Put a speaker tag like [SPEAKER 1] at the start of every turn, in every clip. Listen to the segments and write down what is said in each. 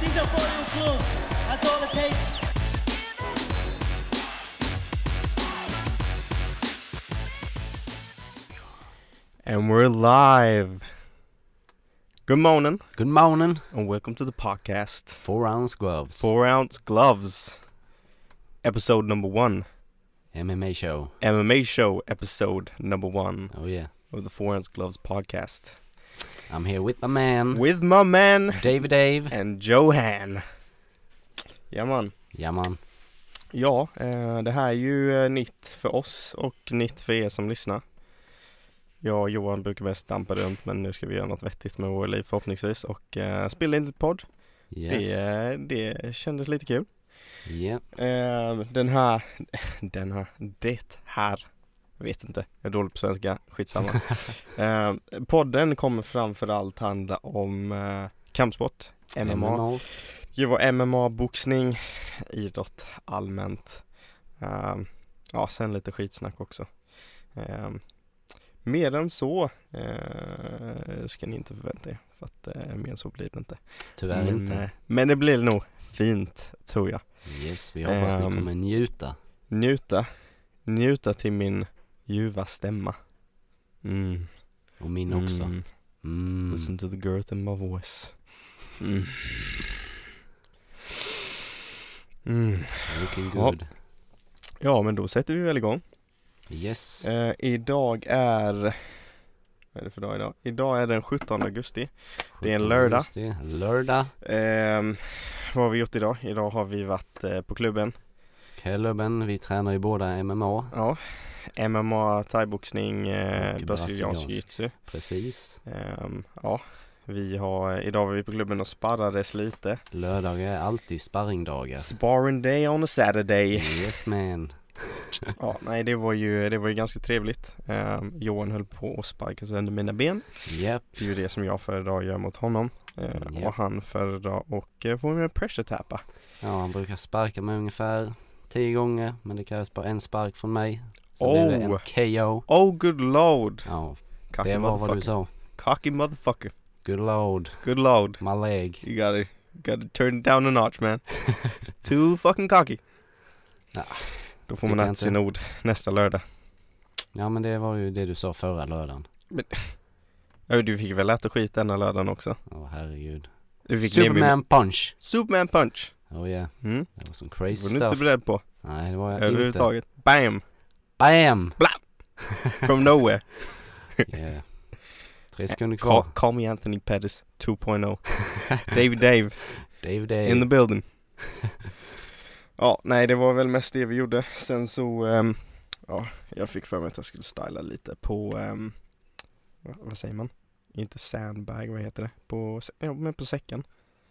[SPEAKER 1] These are 40 ounce gloves. That's all it takes.
[SPEAKER 2] And we're live. Good morning
[SPEAKER 3] Good morning.
[SPEAKER 2] and welcome to the podcast.
[SPEAKER 3] Four ounce gloves.
[SPEAKER 2] Four ounce gloves, episode number one.
[SPEAKER 3] MMA show.
[SPEAKER 2] MMA show episode number one
[SPEAKER 3] Oh yeah.
[SPEAKER 2] of the Four Ounce Gloves podcast
[SPEAKER 3] I'm here with my man,
[SPEAKER 2] with my man
[SPEAKER 3] David Dave.
[SPEAKER 2] and Johan. Ja man.
[SPEAKER 3] Ja man.
[SPEAKER 2] Ja, eh, det här är ju eh, nytt för oss och nytt för er som lyssnar. Jag och Johan brukar mest stampa runt men nu ska vi göra något vettigt med våra liv förhoppningsvis och eh, spela in lite podd.
[SPEAKER 3] Yes.
[SPEAKER 2] Det, eh, det kändes lite kul.
[SPEAKER 3] Yeah.
[SPEAKER 2] Eh, den här, den här, det här, jag vet inte, jag är dålig på svenska, skitsamma. eh, podden kommer framförallt handla om eh, kampsport, MMA, ju var MMA-boxning, idrott allmänt. Eh, ja, sen lite skitsnack också. Eh, mer än så eh, ska ni inte förvänta er, för att eh, mer än så blir det inte.
[SPEAKER 3] Tyvärr
[SPEAKER 2] men, eh,
[SPEAKER 3] inte.
[SPEAKER 2] men det blir nog fint, tror jag.
[SPEAKER 3] Yes, vi hoppas
[SPEAKER 2] ehm,
[SPEAKER 3] ni kommer njuta.
[SPEAKER 2] Njuta. Njuta till min ljuva stämma. Mm.
[SPEAKER 3] Och min också.
[SPEAKER 2] Mm.
[SPEAKER 3] Mm.
[SPEAKER 2] Listen to the girth in my voice. Mm. Mm.
[SPEAKER 3] Looking
[SPEAKER 2] Ja.
[SPEAKER 3] good.
[SPEAKER 2] Ja, men då sätter vi väl igång.
[SPEAKER 3] Yes.
[SPEAKER 2] Eh, idag är... Vad är det för dag idag? Idag är den 17 augusti. det är en lördag.
[SPEAKER 3] Just det. Lördag.
[SPEAKER 2] Ehm, vad har vi gjort idag? Idag har vi varit eh, på klubben.
[SPEAKER 3] Klubben, vi tränar ju båda MMA.
[SPEAKER 2] Ja. MMA, thaiboxning, eh,
[SPEAKER 3] Och
[SPEAKER 2] brasiliansk
[SPEAKER 3] brasiliansk.
[SPEAKER 2] jiu-jitsu.
[SPEAKER 3] Precis.
[SPEAKER 2] Ehm, ja, vi har, idag var vi på klubben och sparrades lite.
[SPEAKER 3] Lördagar är alltid sparringdagar.
[SPEAKER 2] Sparring day on a Saturday.
[SPEAKER 3] Yes man.
[SPEAKER 2] Ja, nej det var ju, det var ju ganska trevligt. Ehm, Johan höll på att sparka sönder mina ben.
[SPEAKER 3] Japp.
[SPEAKER 2] Det är ju det som jag föredrar att göra mot honom. Ehm,
[SPEAKER 3] Ja.
[SPEAKER 2] Och han föredrar och eh, få mig att pressure tappa.
[SPEAKER 3] Ja, han brukar sparka mig ungefär tio gånger, men det krävs bara en spark från mig. Så blir det
[SPEAKER 2] Oh.
[SPEAKER 3] en KO.
[SPEAKER 2] Oh good lord!
[SPEAKER 3] Ja,
[SPEAKER 2] Cocky
[SPEAKER 3] det var vad du
[SPEAKER 2] motherfucker.
[SPEAKER 3] sa.
[SPEAKER 2] Cocky motherfucker.
[SPEAKER 3] Good lord,
[SPEAKER 2] Good lord.
[SPEAKER 3] my leg.
[SPEAKER 2] You gotta, gotta turn it down a notch man. Too fucking cocky.
[SPEAKER 3] Ja,
[SPEAKER 2] Då får man
[SPEAKER 3] tycker jag
[SPEAKER 2] äta
[SPEAKER 3] inte.
[SPEAKER 2] sina ord nästa lördag.
[SPEAKER 3] Ja men det var ju det du sa förra lördagen.
[SPEAKER 2] Ja, Du fick väl äta skit denna lördagen också?
[SPEAKER 3] Åh herregud.
[SPEAKER 2] Du fick ner min...
[SPEAKER 3] Superman punch!
[SPEAKER 2] Superman punch!
[SPEAKER 3] Oh yeah,
[SPEAKER 2] Mm.
[SPEAKER 3] det var som
[SPEAKER 2] Det
[SPEAKER 3] crazy
[SPEAKER 2] var du inte
[SPEAKER 3] stuff.
[SPEAKER 2] beredd på
[SPEAKER 3] Nej det var jag inte.
[SPEAKER 2] överhuvudtaget. Bam!
[SPEAKER 3] Bam!
[SPEAKER 2] From nowhere.
[SPEAKER 3] Yeah. Tre sekunder
[SPEAKER 2] Call,
[SPEAKER 3] kvar.
[SPEAKER 2] call me Anthony Pettis 2.0. David Dave
[SPEAKER 3] Dave Dave.
[SPEAKER 2] in the building. ja, nej det var väl mest det vi gjorde. Sen så, ehm, ja, jag fick för mig att jag skulle styla lite på, ehm, va- vad säger man? Inte sandbag, vad heter det? På, sä- ja, men på säcken.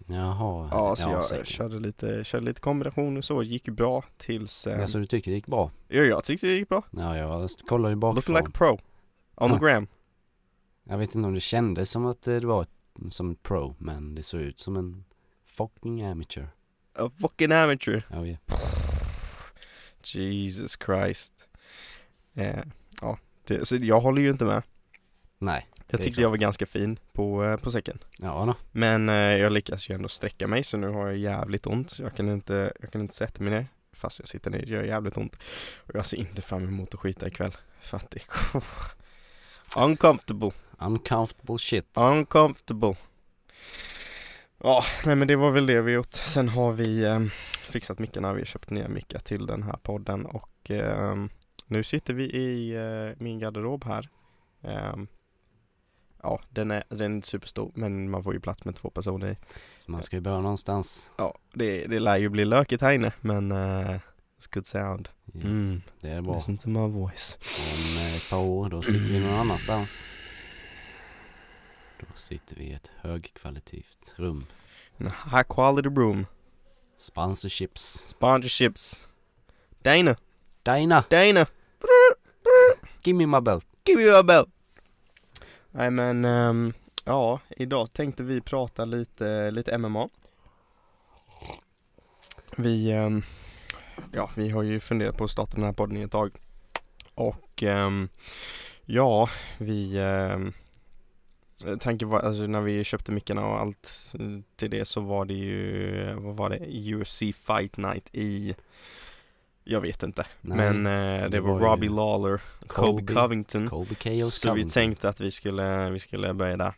[SPEAKER 3] Jaha.
[SPEAKER 2] Ja, så jag
[SPEAKER 3] säkert.
[SPEAKER 2] körde lite, körde lite kombinationer så, gick ju bra tills, ehm,
[SPEAKER 3] Ja, så du tycker det gick bra?
[SPEAKER 2] ja, jag tyckte det gick bra.
[SPEAKER 3] Ja, jag kollade
[SPEAKER 2] Looking
[SPEAKER 3] ju bakifrån.
[SPEAKER 2] like a pro. On the
[SPEAKER 3] Ja.
[SPEAKER 2] gram.
[SPEAKER 3] Jag vet inte om det kändes som att eh, det var ett, som ett pro, men det såg ut som en fucking amateur.
[SPEAKER 2] A fucking amateur.
[SPEAKER 3] Oh yeah.
[SPEAKER 2] Jesus Christ. Eh, ja, det, så jag håller ju inte med.
[SPEAKER 3] Nej.
[SPEAKER 2] Jag
[SPEAKER 3] Det är
[SPEAKER 2] tyckte
[SPEAKER 3] klart.
[SPEAKER 2] jag var ganska fin på, eh, på säcken.
[SPEAKER 3] Ja då.
[SPEAKER 2] Men eh, jag lyckas ju ändå sträcka mig så nu har jag jävligt ont. Så jag kan inte, jag kan inte sätta mig ner. Fast jag sitter ner, det gör jävligt ont. Och jag ser inte fram emot att skita ikväll. För att det är... Uncomfortable.
[SPEAKER 3] Uncomfortable shit.
[SPEAKER 2] Uncomfortable. Ja, nej men det var väl det vi gjort. Sen har vi ehm, fixat mickarna, vi har köpt nya mickar till den här podden och ehm, nu sitter vi i eh, min garderob här. Ehm, ja, den är, den är inte superstor men man får ju plats med två personer i.
[SPEAKER 3] Så man ska ju börja någonstans.
[SPEAKER 2] Ja, det, det lär ju bli lökigt här inne men eh, it's good sound.
[SPEAKER 3] Ja,
[SPEAKER 2] Mm,
[SPEAKER 3] Det är bra.
[SPEAKER 2] listen to my voice.
[SPEAKER 3] Om eh, ett par år, då sitter vi någon annanstans. Då sitter vi i ett högkvalitativt rum.
[SPEAKER 2] In a high quality room.
[SPEAKER 3] Sponsorships.
[SPEAKER 2] Sponsorships. Dana,
[SPEAKER 3] Dina,
[SPEAKER 2] Dana.
[SPEAKER 3] give me my belt.
[SPEAKER 2] Give you a bell! Nej men, ehm, ja, idag tänkte vi prata lite, lite MMA. Vi, ehm, ja, vi har ju funderat på att starta den här podden i ett tag. Och, ehm, ja, vi, ehm, Eh, Tanken var, alltså när vi köpte mickarna och allt eh, till det så var det ju, eh, vad var det, UFC Fight Night i jag vet inte,
[SPEAKER 3] Nej,
[SPEAKER 2] men eh, det,
[SPEAKER 3] det
[SPEAKER 2] var,
[SPEAKER 3] var ju
[SPEAKER 2] Robbie Lawler, Kobe, Covington
[SPEAKER 3] Kobe Chaos
[SPEAKER 2] Så vi tänkte att vi skulle, vi skulle börja där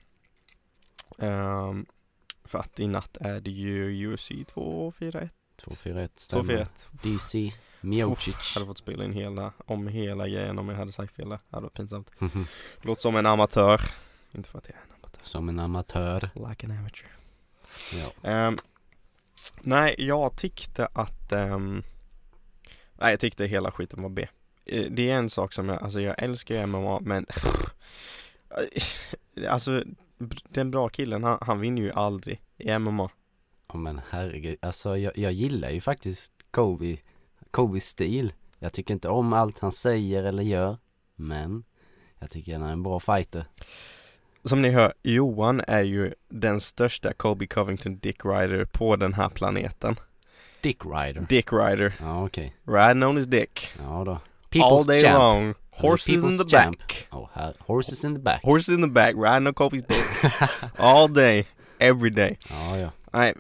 [SPEAKER 2] Ehm, För att i natt är det ju UFC 241,
[SPEAKER 3] 241 stämmer.
[SPEAKER 2] 241
[SPEAKER 3] DC
[SPEAKER 2] Uff,
[SPEAKER 3] Miocic.
[SPEAKER 2] Hade fått spela in hela, om hela grejen om jag hade sagt fel där, hade varit pinsamt Låter som en amatör Inte för att jag är
[SPEAKER 3] Som en amatör.
[SPEAKER 2] en Like an amateur
[SPEAKER 3] Ja.
[SPEAKER 2] Ehm, Nej, jag tyckte att ehm, Nej, jag tyckte hela skiten var B Eh, Det är en sak som jag, alltså jag älskar ju MMA men Alltså br- den bra killen, han, han vinner ju aldrig i MMA
[SPEAKER 3] Ja, men herregud, alltså jag, jag gillar ju faktiskt Kobe, Kobes stil. Jag tycker inte om allt han säger eller gör, men jag tycker han är en bra fighter.
[SPEAKER 2] Som ni hör, Johan är ju den största Kobe Covington Dick Rider på den här planeten
[SPEAKER 3] Dick Rider.
[SPEAKER 2] Dick Rider,
[SPEAKER 3] Ja, okej.
[SPEAKER 2] riding on his dick
[SPEAKER 3] Ja då.
[SPEAKER 2] All
[SPEAKER 3] People's
[SPEAKER 2] day
[SPEAKER 3] champ.
[SPEAKER 2] long,
[SPEAKER 3] Han är
[SPEAKER 2] horses in
[SPEAKER 3] people's
[SPEAKER 2] the
[SPEAKER 3] champ.
[SPEAKER 2] back
[SPEAKER 3] Oh, här. Horses in the back.
[SPEAKER 2] Horses in the back, riding on Kobe's dick All day, every day
[SPEAKER 3] ja, ja.
[SPEAKER 2] Nej,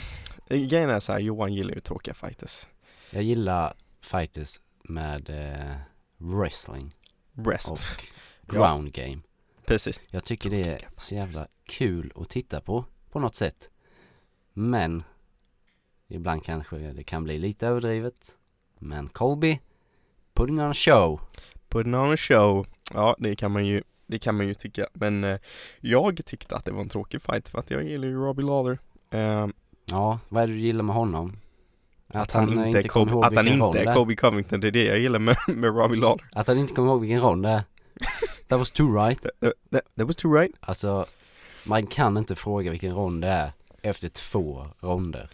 [SPEAKER 2] grejen är så här, Johan gillar ju tråkiga fighters.
[SPEAKER 3] Jag gillar fighters med eh, wrestling
[SPEAKER 2] Wrestling.
[SPEAKER 3] och
[SPEAKER 2] Ja.
[SPEAKER 3] ground game.
[SPEAKER 2] Precis.
[SPEAKER 3] Jag tycker det är så jävla kul att titta på, på något sätt. Men, ibland kanske det kan bli lite överdrivet. Men Colby, putting on a show.
[SPEAKER 2] Putting on a show. Ja, det kan man ju, det kan man ju tycka. Men eh, jag tyckte att det var en tråkig fight för att jag gillar ju Robbie Lawler. Eh,
[SPEAKER 3] Ja, vad är det du gillar med honom? Att,
[SPEAKER 2] är
[SPEAKER 3] han inte kommer
[SPEAKER 2] Kobe,
[SPEAKER 3] ihåg
[SPEAKER 2] att han
[SPEAKER 3] vilken roll
[SPEAKER 2] inte
[SPEAKER 3] det
[SPEAKER 2] är
[SPEAKER 3] är.
[SPEAKER 2] Kobe Covington, det är det jag gillar med, med Robbie Lawler.
[SPEAKER 3] Att han inte kommer ihåg vilken roll det är. That was too right.
[SPEAKER 2] That, that- that, that was too right.
[SPEAKER 3] Alltså, man kan inte fråga vilken rond det är efter två ronder.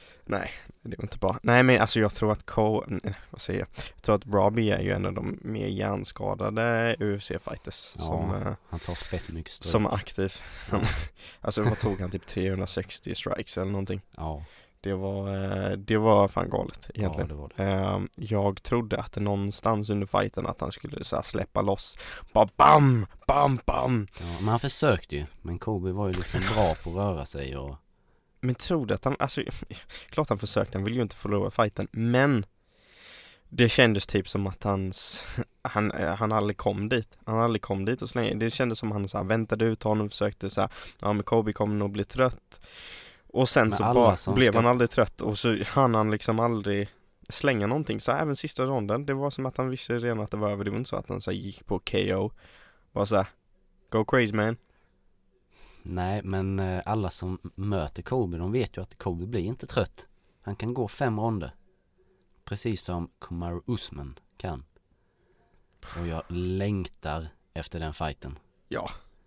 [SPEAKER 2] Det var inte bra. Nej men alltså jag tror att Ko, nej, vad säger jag? Jag tror att Robbie är ju en av de mer hjärnskadade UFC-fighters
[SPEAKER 3] Ja.
[SPEAKER 2] som eh,
[SPEAKER 3] Han tar fett mycket stryk.
[SPEAKER 2] Som aktiv. Han, alltså vad tog han? Typ 360 strikes eller någonting.
[SPEAKER 3] Ja,
[SPEAKER 2] Det var, eh, det var fan galet
[SPEAKER 3] ja,
[SPEAKER 2] egentligen.
[SPEAKER 3] det var det.
[SPEAKER 2] Ehm, Jag trodde att någonstans under fighten att han skulle så här släppa loss. Bara bam, bam, bam.
[SPEAKER 3] Ja, men han försökte ju. Men Kobe var ju liksom bra på att röra sig och
[SPEAKER 2] Men trodde att han, alltså klart han försökte, han ville ju inte förlora fighten. Men det kändes typ som att hans, han, eh, han aldrig kom dit. Han aldrig kom dit och så länge. Det kändes som att han så här väntade ut honom, försökte så här, ja men Kobe kommer nog bli trött. Och sen
[SPEAKER 3] Men
[SPEAKER 2] så
[SPEAKER 3] alla
[SPEAKER 2] bara
[SPEAKER 3] som
[SPEAKER 2] blev
[SPEAKER 3] ska-
[SPEAKER 2] han aldrig trött och så hann han liksom aldrig slänga någonting. Så även sista ronden, det var som att han visste redan att det var över. Det var inte så att han så här, gick på KO. Bara så här, go crazy man.
[SPEAKER 3] Nej, men eh, alla som möter Kobe, de vet ju att Kobe blir inte trött. Han kan gå fem ronder. Precis som Kamaru Usman kan. Och jag längtar efter den fighten.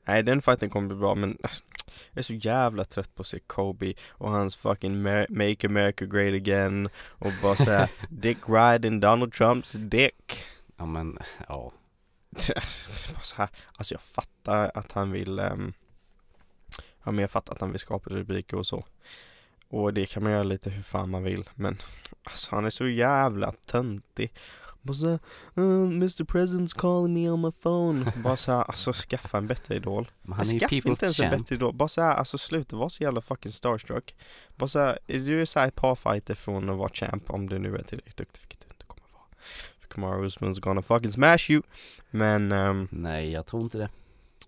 [SPEAKER 2] Nej den fighten kommer bli bra men alltså, jag är så jävla trött på att se Kobe och hans fucking Ma- Make America Great Again och bara såhär Dick Riding Donald Trumps dick.
[SPEAKER 3] Ja, men ja.
[SPEAKER 2] bara så här. Alltså jag fattar att han vill ehm, Ja men jag fattar att han vill skapa rubriker och så. Och det kan man göra lite hur fan man vill men alltså han är så jävla töntig. Bara såhär, uh, Mr President's calling me on my phone. Bara såhär, alltså skaffa en bättre idol.
[SPEAKER 3] Men
[SPEAKER 2] Han
[SPEAKER 3] han är ju
[SPEAKER 2] Skaffa inte
[SPEAKER 3] people's
[SPEAKER 2] ens en
[SPEAKER 3] champ.
[SPEAKER 2] bättre då. Bara såhär, alltså sluta vara så jävla fucking starstruck. Bara såhär, du är såhär ett par fighter från att vara champ om du nu är tillräckligt duktig, vilket du inte kommer vara. För Kamaru Usman's gonna fucking smash you. Men, ehm,
[SPEAKER 3] Nej, jag tror inte det.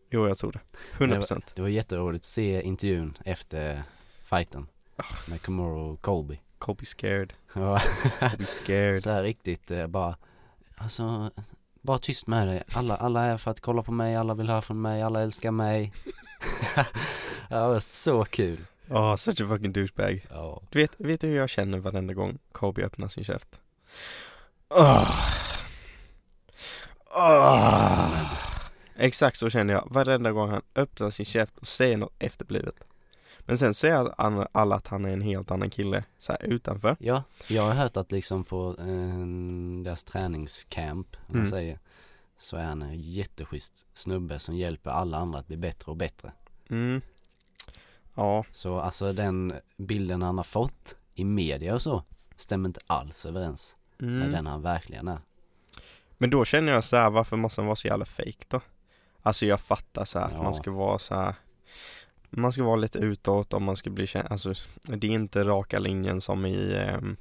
[SPEAKER 2] jo jag tror det. 100%.
[SPEAKER 3] Det var jätteroligt att se intervjun efter fighten.
[SPEAKER 2] Ah.
[SPEAKER 3] Med Kamaru och Kobe.
[SPEAKER 2] Kobe scared,
[SPEAKER 3] Ja.
[SPEAKER 2] Kobe scared.
[SPEAKER 3] Så här riktigt eh, bara, alltså, bara tyst med dig. Alla, alla är för att kolla på mig, alla vill höra från mig, alla älskar mig. ja, det var så kul.
[SPEAKER 2] Oh, such a fucking douchebag.
[SPEAKER 3] Ja.
[SPEAKER 2] Du vet, vet du hur jag känner varenda gång Kobe öppnar sin käft? Ah. Åh. Åh. Ah. Exakt så känner jag varenda gång han öppnar sin käft och säger något efterblivet. Men sen säger han- alla att han är en helt annan kille så här utanför.
[SPEAKER 3] ja, jag har hört att liksom på eh, deras träningscamp, om
[SPEAKER 2] Mm.
[SPEAKER 3] man säger, så är han en jätteschysst snubbe som hjälper alla andra att bli bättre och bättre.
[SPEAKER 2] Mm. Ja,
[SPEAKER 3] Så alltså den bilden han har fått i media och så stämmer inte alls överens
[SPEAKER 2] mm.
[SPEAKER 3] med den han verkligen är.
[SPEAKER 2] Men då känner jag så här, varför måste han vara så jävla fake då? Alltså jag fattar så här att man
[SPEAKER 3] Ja.
[SPEAKER 2] ska vara så här Man ska vara lite utåt om man ska bli känd, alltså det är inte raka linjen som i ehm,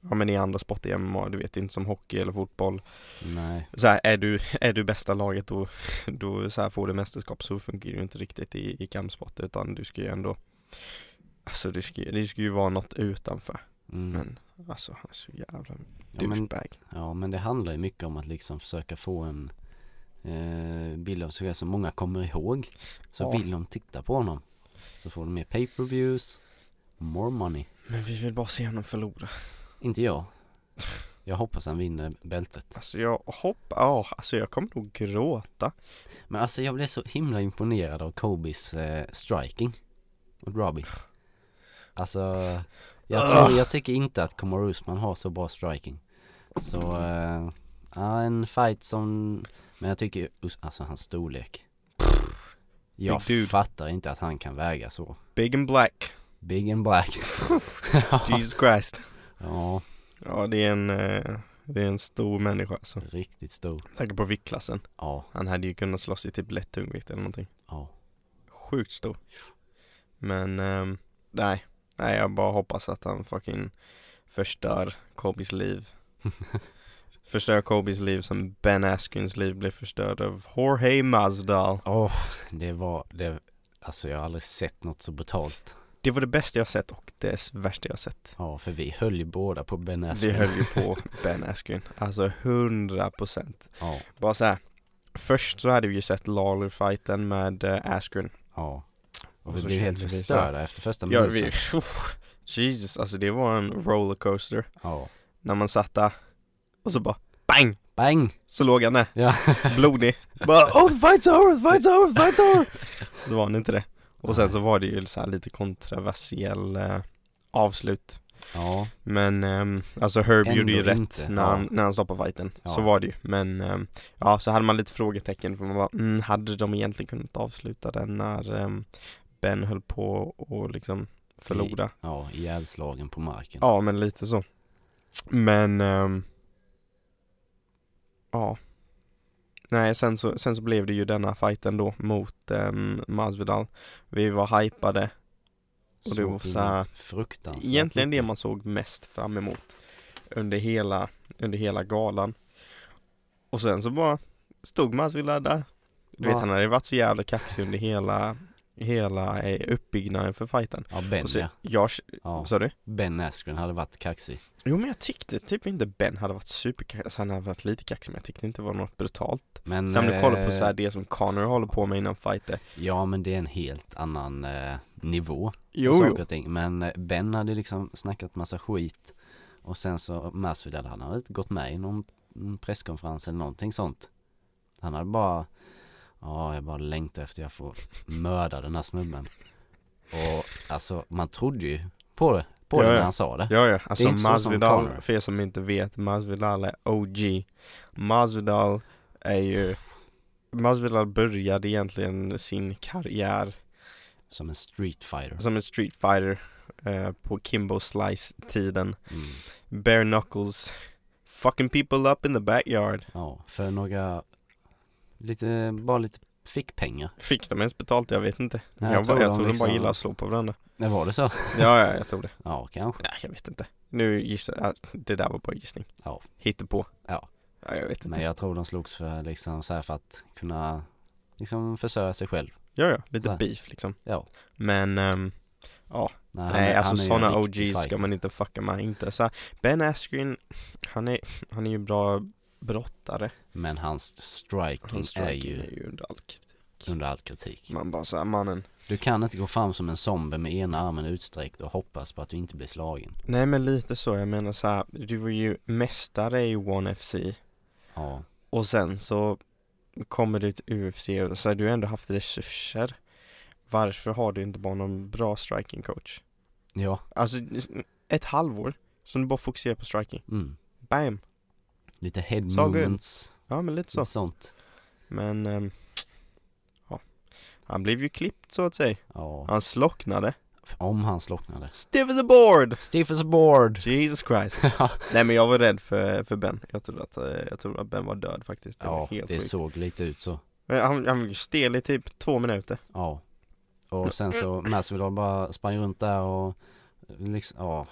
[SPEAKER 2] Ja men i andra sporter i MMA, du vet inte som hockey eller fotboll
[SPEAKER 3] Nej,
[SPEAKER 2] så här, är, du, är du bästa laget då, då så här får du mästerskap så funkar det ju inte riktigt i, i kampsport utan du ska ju ändå Alltså det ska, ju- det ska ju vara något utanför
[SPEAKER 3] mm.
[SPEAKER 2] Men alltså han är så jävla
[SPEAKER 3] ja, men,
[SPEAKER 2] douchebag
[SPEAKER 3] ja men det handlar ju mycket om att liksom försöka få en eh, bild av sig själv som många kommer ihåg Så
[SPEAKER 2] Ja.
[SPEAKER 3] vill de titta på honom Så får de mer pay-per-views More money
[SPEAKER 2] Men vi vill bara se honom förlora
[SPEAKER 3] Inte jag Jag hoppas han vinner bältet
[SPEAKER 2] Alltså jag hoppas, ja alltså jag kommer nog gråta
[SPEAKER 3] Men alltså jag blev så himla imponerad av Kobis eh, striking Och Robbie Alltså jag,
[SPEAKER 2] Ah.
[SPEAKER 3] tror, jag tycker inte att Kamaru Usman har så bra striking Så, eh, ja en fight som Men jag tycker, Us- alltså hans storlek Jag
[SPEAKER 2] Big dude.
[SPEAKER 3] fattar inte att han kan väga så
[SPEAKER 2] Big and black,
[SPEAKER 3] Big and black
[SPEAKER 2] Jesus Christ
[SPEAKER 3] Ja,
[SPEAKER 2] Ja det är en, eh, det är en stor människa alltså
[SPEAKER 3] riktigt stor
[SPEAKER 2] Med tanke på viktklassen
[SPEAKER 3] Ja,
[SPEAKER 2] Han hade ju kunnat slåss i typ lätt tungvikt eller någonting
[SPEAKER 3] ja
[SPEAKER 2] Sjukt stor. Men ehm, nej, nej jag bara hoppas att han fucking förstör Kobis liv. förstör Kobis liv som Ben Askrins liv blev förstörd av Jorge Masvidal.
[SPEAKER 3] Åh, det var, det, alltså jag har aldrig sett något så brutalt
[SPEAKER 2] Det var det bästa jag sett och det värsta jag sett.
[SPEAKER 3] Ja, för vi höll ju båda på Ben
[SPEAKER 2] Vi
[SPEAKER 3] Askren.
[SPEAKER 2] höll ju på Ben Askren. Alltså 100 procent.
[SPEAKER 3] Ja,
[SPEAKER 2] Bara så här. Först så hade vi ju sett Lawler-fighten med eh, Askren.
[SPEAKER 3] ja. Och vi
[SPEAKER 2] så
[SPEAKER 3] blev helt
[SPEAKER 2] kände vi så här-
[SPEAKER 3] förstörda efter första
[SPEAKER 2] Ja,
[SPEAKER 3] minuten.
[SPEAKER 2] vi, Jesus, alltså det var en rollercoaster.
[SPEAKER 3] Ja.
[SPEAKER 2] när man satt där och så bara bang!
[SPEAKER 3] Bang!
[SPEAKER 2] Så låg han där,
[SPEAKER 3] Ja.
[SPEAKER 2] blodig. Bara oh fight's over, fight's over, fight's over! Så var han inte det. Och sen så var det ju så här lite kontroversiell eh, avslut.
[SPEAKER 3] Ja,
[SPEAKER 2] Men ehm, alltså Herb
[SPEAKER 3] Ändå
[SPEAKER 2] gjorde ju rätt
[SPEAKER 3] inte,
[SPEAKER 2] när,
[SPEAKER 3] ja.
[SPEAKER 2] han, när han stoppade fighten.
[SPEAKER 3] Ja.
[SPEAKER 2] Så var det ju. Men ehm, ja, så hade man lite frågetecken för man bara mm, hade de egentligen kunnat avsluta den när ehm, Ben höll på och liksom förlora?
[SPEAKER 3] ja, ihjälslagen på marken.
[SPEAKER 2] Ja, men lite så. Men... ehm, ja. Nej, sen så, sen så blev det ju denna fighten då mot um, Masvidal. Vi var hypade. och det
[SPEAKER 3] Såg
[SPEAKER 2] var
[SPEAKER 3] vi
[SPEAKER 2] så här-
[SPEAKER 3] något Fruktansvärt.
[SPEAKER 2] Egentligen det
[SPEAKER 3] mycket.
[SPEAKER 2] man såg mest fram emot under hela, under hela galan. Och sen så bara stod Masvidal där. Du vet,
[SPEAKER 3] Ja.
[SPEAKER 2] han hade varit så jävla kaxig under hela, hela eh, uppbyggnaden för fighten.
[SPEAKER 3] Ja, Ben
[SPEAKER 2] Och så,
[SPEAKER 3] ja.
[SPEAKER 2] jag,
[SPEAKER 3] ja.
[SPEAKER 2] sa du?
[SPEAKER 3] Ben Askren hade varit kaxig.
[SPEAKER 2] Jo men jag tyckte typ inte Ben hade varit superkaxig, alltså han hade varit lite kaxig men jag tyckte inte det var något brutalt
[SPEAKER 3] Men...
[SPEAKER 2] Sen om du kollar på
[SPEAKER 3] eh,
[SPEAKER 2] så här det som Connor håller på med innan fighter
[SPEAKER 3] Ja, men det är en helt annan eh, nivå. på saker och ting. Men eh, Ben hade liksom snackat massa skit och sen så Masvidal han hade inte gått med i någon mm, presskonferens eller någonting sånt. Han hade bara, ja jag bara längtar efter jag får mörda den här snubben. Och alltså man trodde ju på det, på
[SPEAKER 2] Ja,
[SPEAKER 3] det när
[SPEAKER 2] ja.
[SPEAKER 3] han sa det.
[SPEAKER 2] Ja ja, alltså
[SPEAKER 3] inte så som Conor.
[SPEAKER 2] Masvidal, för er som inte vet, Masvidal är OG Masvidal är ju Masvidal började egentligen sin karriär
[SPEAKER 3] Som en street fighter.
[SPEAKER 2] som en street fighter eh, på Kimbo Slice-tiden
[SPEAKER 3] Mm.
[SPEAKER 2] Bare knuckles, fucking people up in the backyard
[SPEAKER 3] Ja, för några, lite, bara lite fickpengar.
[SPEAKER 2] Fick de ens betalt? Jag vet inte
[SPEAKER 3] Nej,
[SPEAKER 2] Jag, bara, jag
[SPEAKER 3] de
[SPEAKER 2] tror de bara
[SPEAKER 3] liksom-
[SPEAKER 2] gillar att slå på varandra
[SPEAKER 3] Nej, var det så?
[SPEAKER 2] Ja, ja, jag tror det.
[SPEAKER 3] Ja, kanske.
[SPEAKER 2] Nej, jag vet inte. Nu gissar jag, det där var bara gissning.
[SPEAKER 3] Ja.
[SPEAKER 2] Hittepå.
[SPEAKER 3] Ja.
[SPEAKER 2] Ja, jag vet
[SPEAKER 3] Men
[SPEAKER 2] inte.
[SPEAKER 3] jag tror de slogs för liksom så här för att kunna liksom försörja sig själv.
[SPEAKER 2] Ja, ja, lite
[SPEAKER 3] Nej.
[SPEAKER 2] beef liksom.
[SPEAKER 3] Ja.
[SPEAKER 2] Men, ehm,
[SPEAKER 3] Nej, han
[SPEAKER 2] nej,
[SPEAKER 3] är-
[SPEAKER 2] alltså
[SPEAKER 3] han är ju en
[SPEAKER 2] sådana OGs
[SPEAKER 3] riktig
[SPEAKER 2] ska
[SPEAKER 3] fighter.
[SPEAKER 2] man inte fucka med. Inte så här, Ben Askren, han är, han är ju bra brottare.
[SPEAKER 3] Men hans striking,
[SPEAKER 2] Hans striking
[SPEAKER 3] är ju
[SPEAKER 2] under all kritik.
[SPEAKER 3] under all kritik.
[SPEAKER 2] Man bara såhär, mannen.
[SPEAKER 3] Du kan inte gå fram som en zombie med ena armen utsträckt och hoppas på att du inte blir slagen.
[SPEAKER 2] Nej men lite så, jag menar så här, du var ju mästare i One FC
[SPEAKER 3] Ja,
[SPEAKER 2] och sen så kommer du till UFC och så har du ändå haft resurser. Varför har du inte bara någon bra striking coach?
[SPEAKER 3] ja,
[SPEAKER 2] Alltså ett halvår som du bara fokuserar på striking.
[SPEAKER 3] mm.
[SPEAKER 2] Bam!
[SPEAKER 3] Lite head
[SPEAKER 2] Så good.
[SPEAKER 3] movements,
[SPEAKER 2] Ja men lite så.
[SPEAKER 3] lite sånt.
[SPEAKER 2] Men ehm, ja. Han blev ju klippt så att säga.
[SPEAKER 3] Ja,
[SPEAKER 2] Han slocknade.
[SPEAKER 3] om han slocknade.
[SPEAKER 2] Stiff as a board!
[SPEAKER 3] Stiff as a board!
[SPEAKER 2] Jesus Christ. Nej men jag var rädd för, för Ben. Jag trodde att, eh, jag trodde att Ben var död faktiskt. Det var
[SPEAKER 3] ja,
[SPEAKER 2] helt
[SPEAKER 3] det
[SPEAKER 2] sjukt.
[SPEAKER 3] såg lite ut så.
[SPEAKER 2] Men Han, han var ju stel i typ två minuter.
[SPEAKER 3] Ja, Och sen så Masvidal bara sprang runt där och liksom, ja.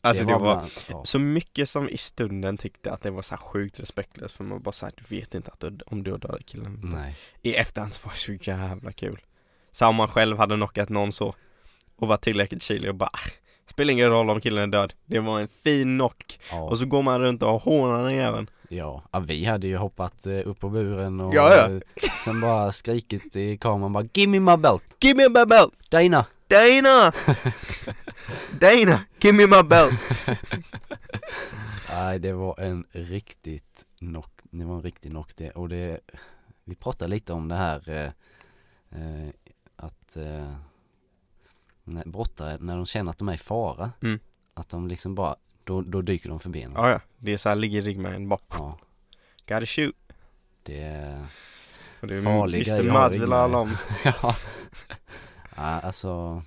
[SPEAKER 2] Alltså det var
[SPEAKER 3] bland- ja.
[SPEAKER 2] så mycket som i stunden tyckte att det var så här sjukt respektlöst för man bara såhär, du vet inte att du, om du dödade killen eller inte."
[SPEAKER 3] Nej.
[SPEAKER 2] I efterhand så var det så jävla kul Samma om man själv hade knockat någon så Och var tillräckligt kylig och bara "Ah, Spelar ingen roll om killen är död Det var en fin knock
[SPEAKER 3] Ja.
[SPEAKER 2] Och så går man runt och hånar den jäveln
[SPEAKER 3] Ja, ja, vi hade ju hoppat eh, upp på buren och
[SPEAKER 2] Ja, ja.
[SPEAKER 3] eh, sen bara skrikit i kameran bara Give me my belt!
[SPEAKER 2] Give me my belt!
[SPEAKER 3] Dana!
[SPEAKER 2] Dana! Dana! Give me my belt!
[SPEAKER 3] Nej, det var en riktigt knock, det var en riktig knock det och det Vi pratade lite om det här eh, eh, att eh, när- brottare, när de känner att de är i fara
[SPEAKER 2] Mm.
[SPEAKER 3] Att de liksom bara, då, då dyker de förbi en.
[SPEAKER 2] Ja, ja. Det är såhär, ligger i ryggmärgen bara
[SPEAKER 3] Ja,
[SPEAKER 2] Gotta shoot!
[SPEAKER 3] det är
[SPEAKER 2] Och det
[SPEAKER 3] Farlig
[SPEAKER 2] visste
[SPEAKER 3] grej att ha i
[SPEAKER 2] Masvidal
[SPEAKER 3] ryggmärgen.
[SPEAKER 2] om
[SPEAKER 3] Ja, alltså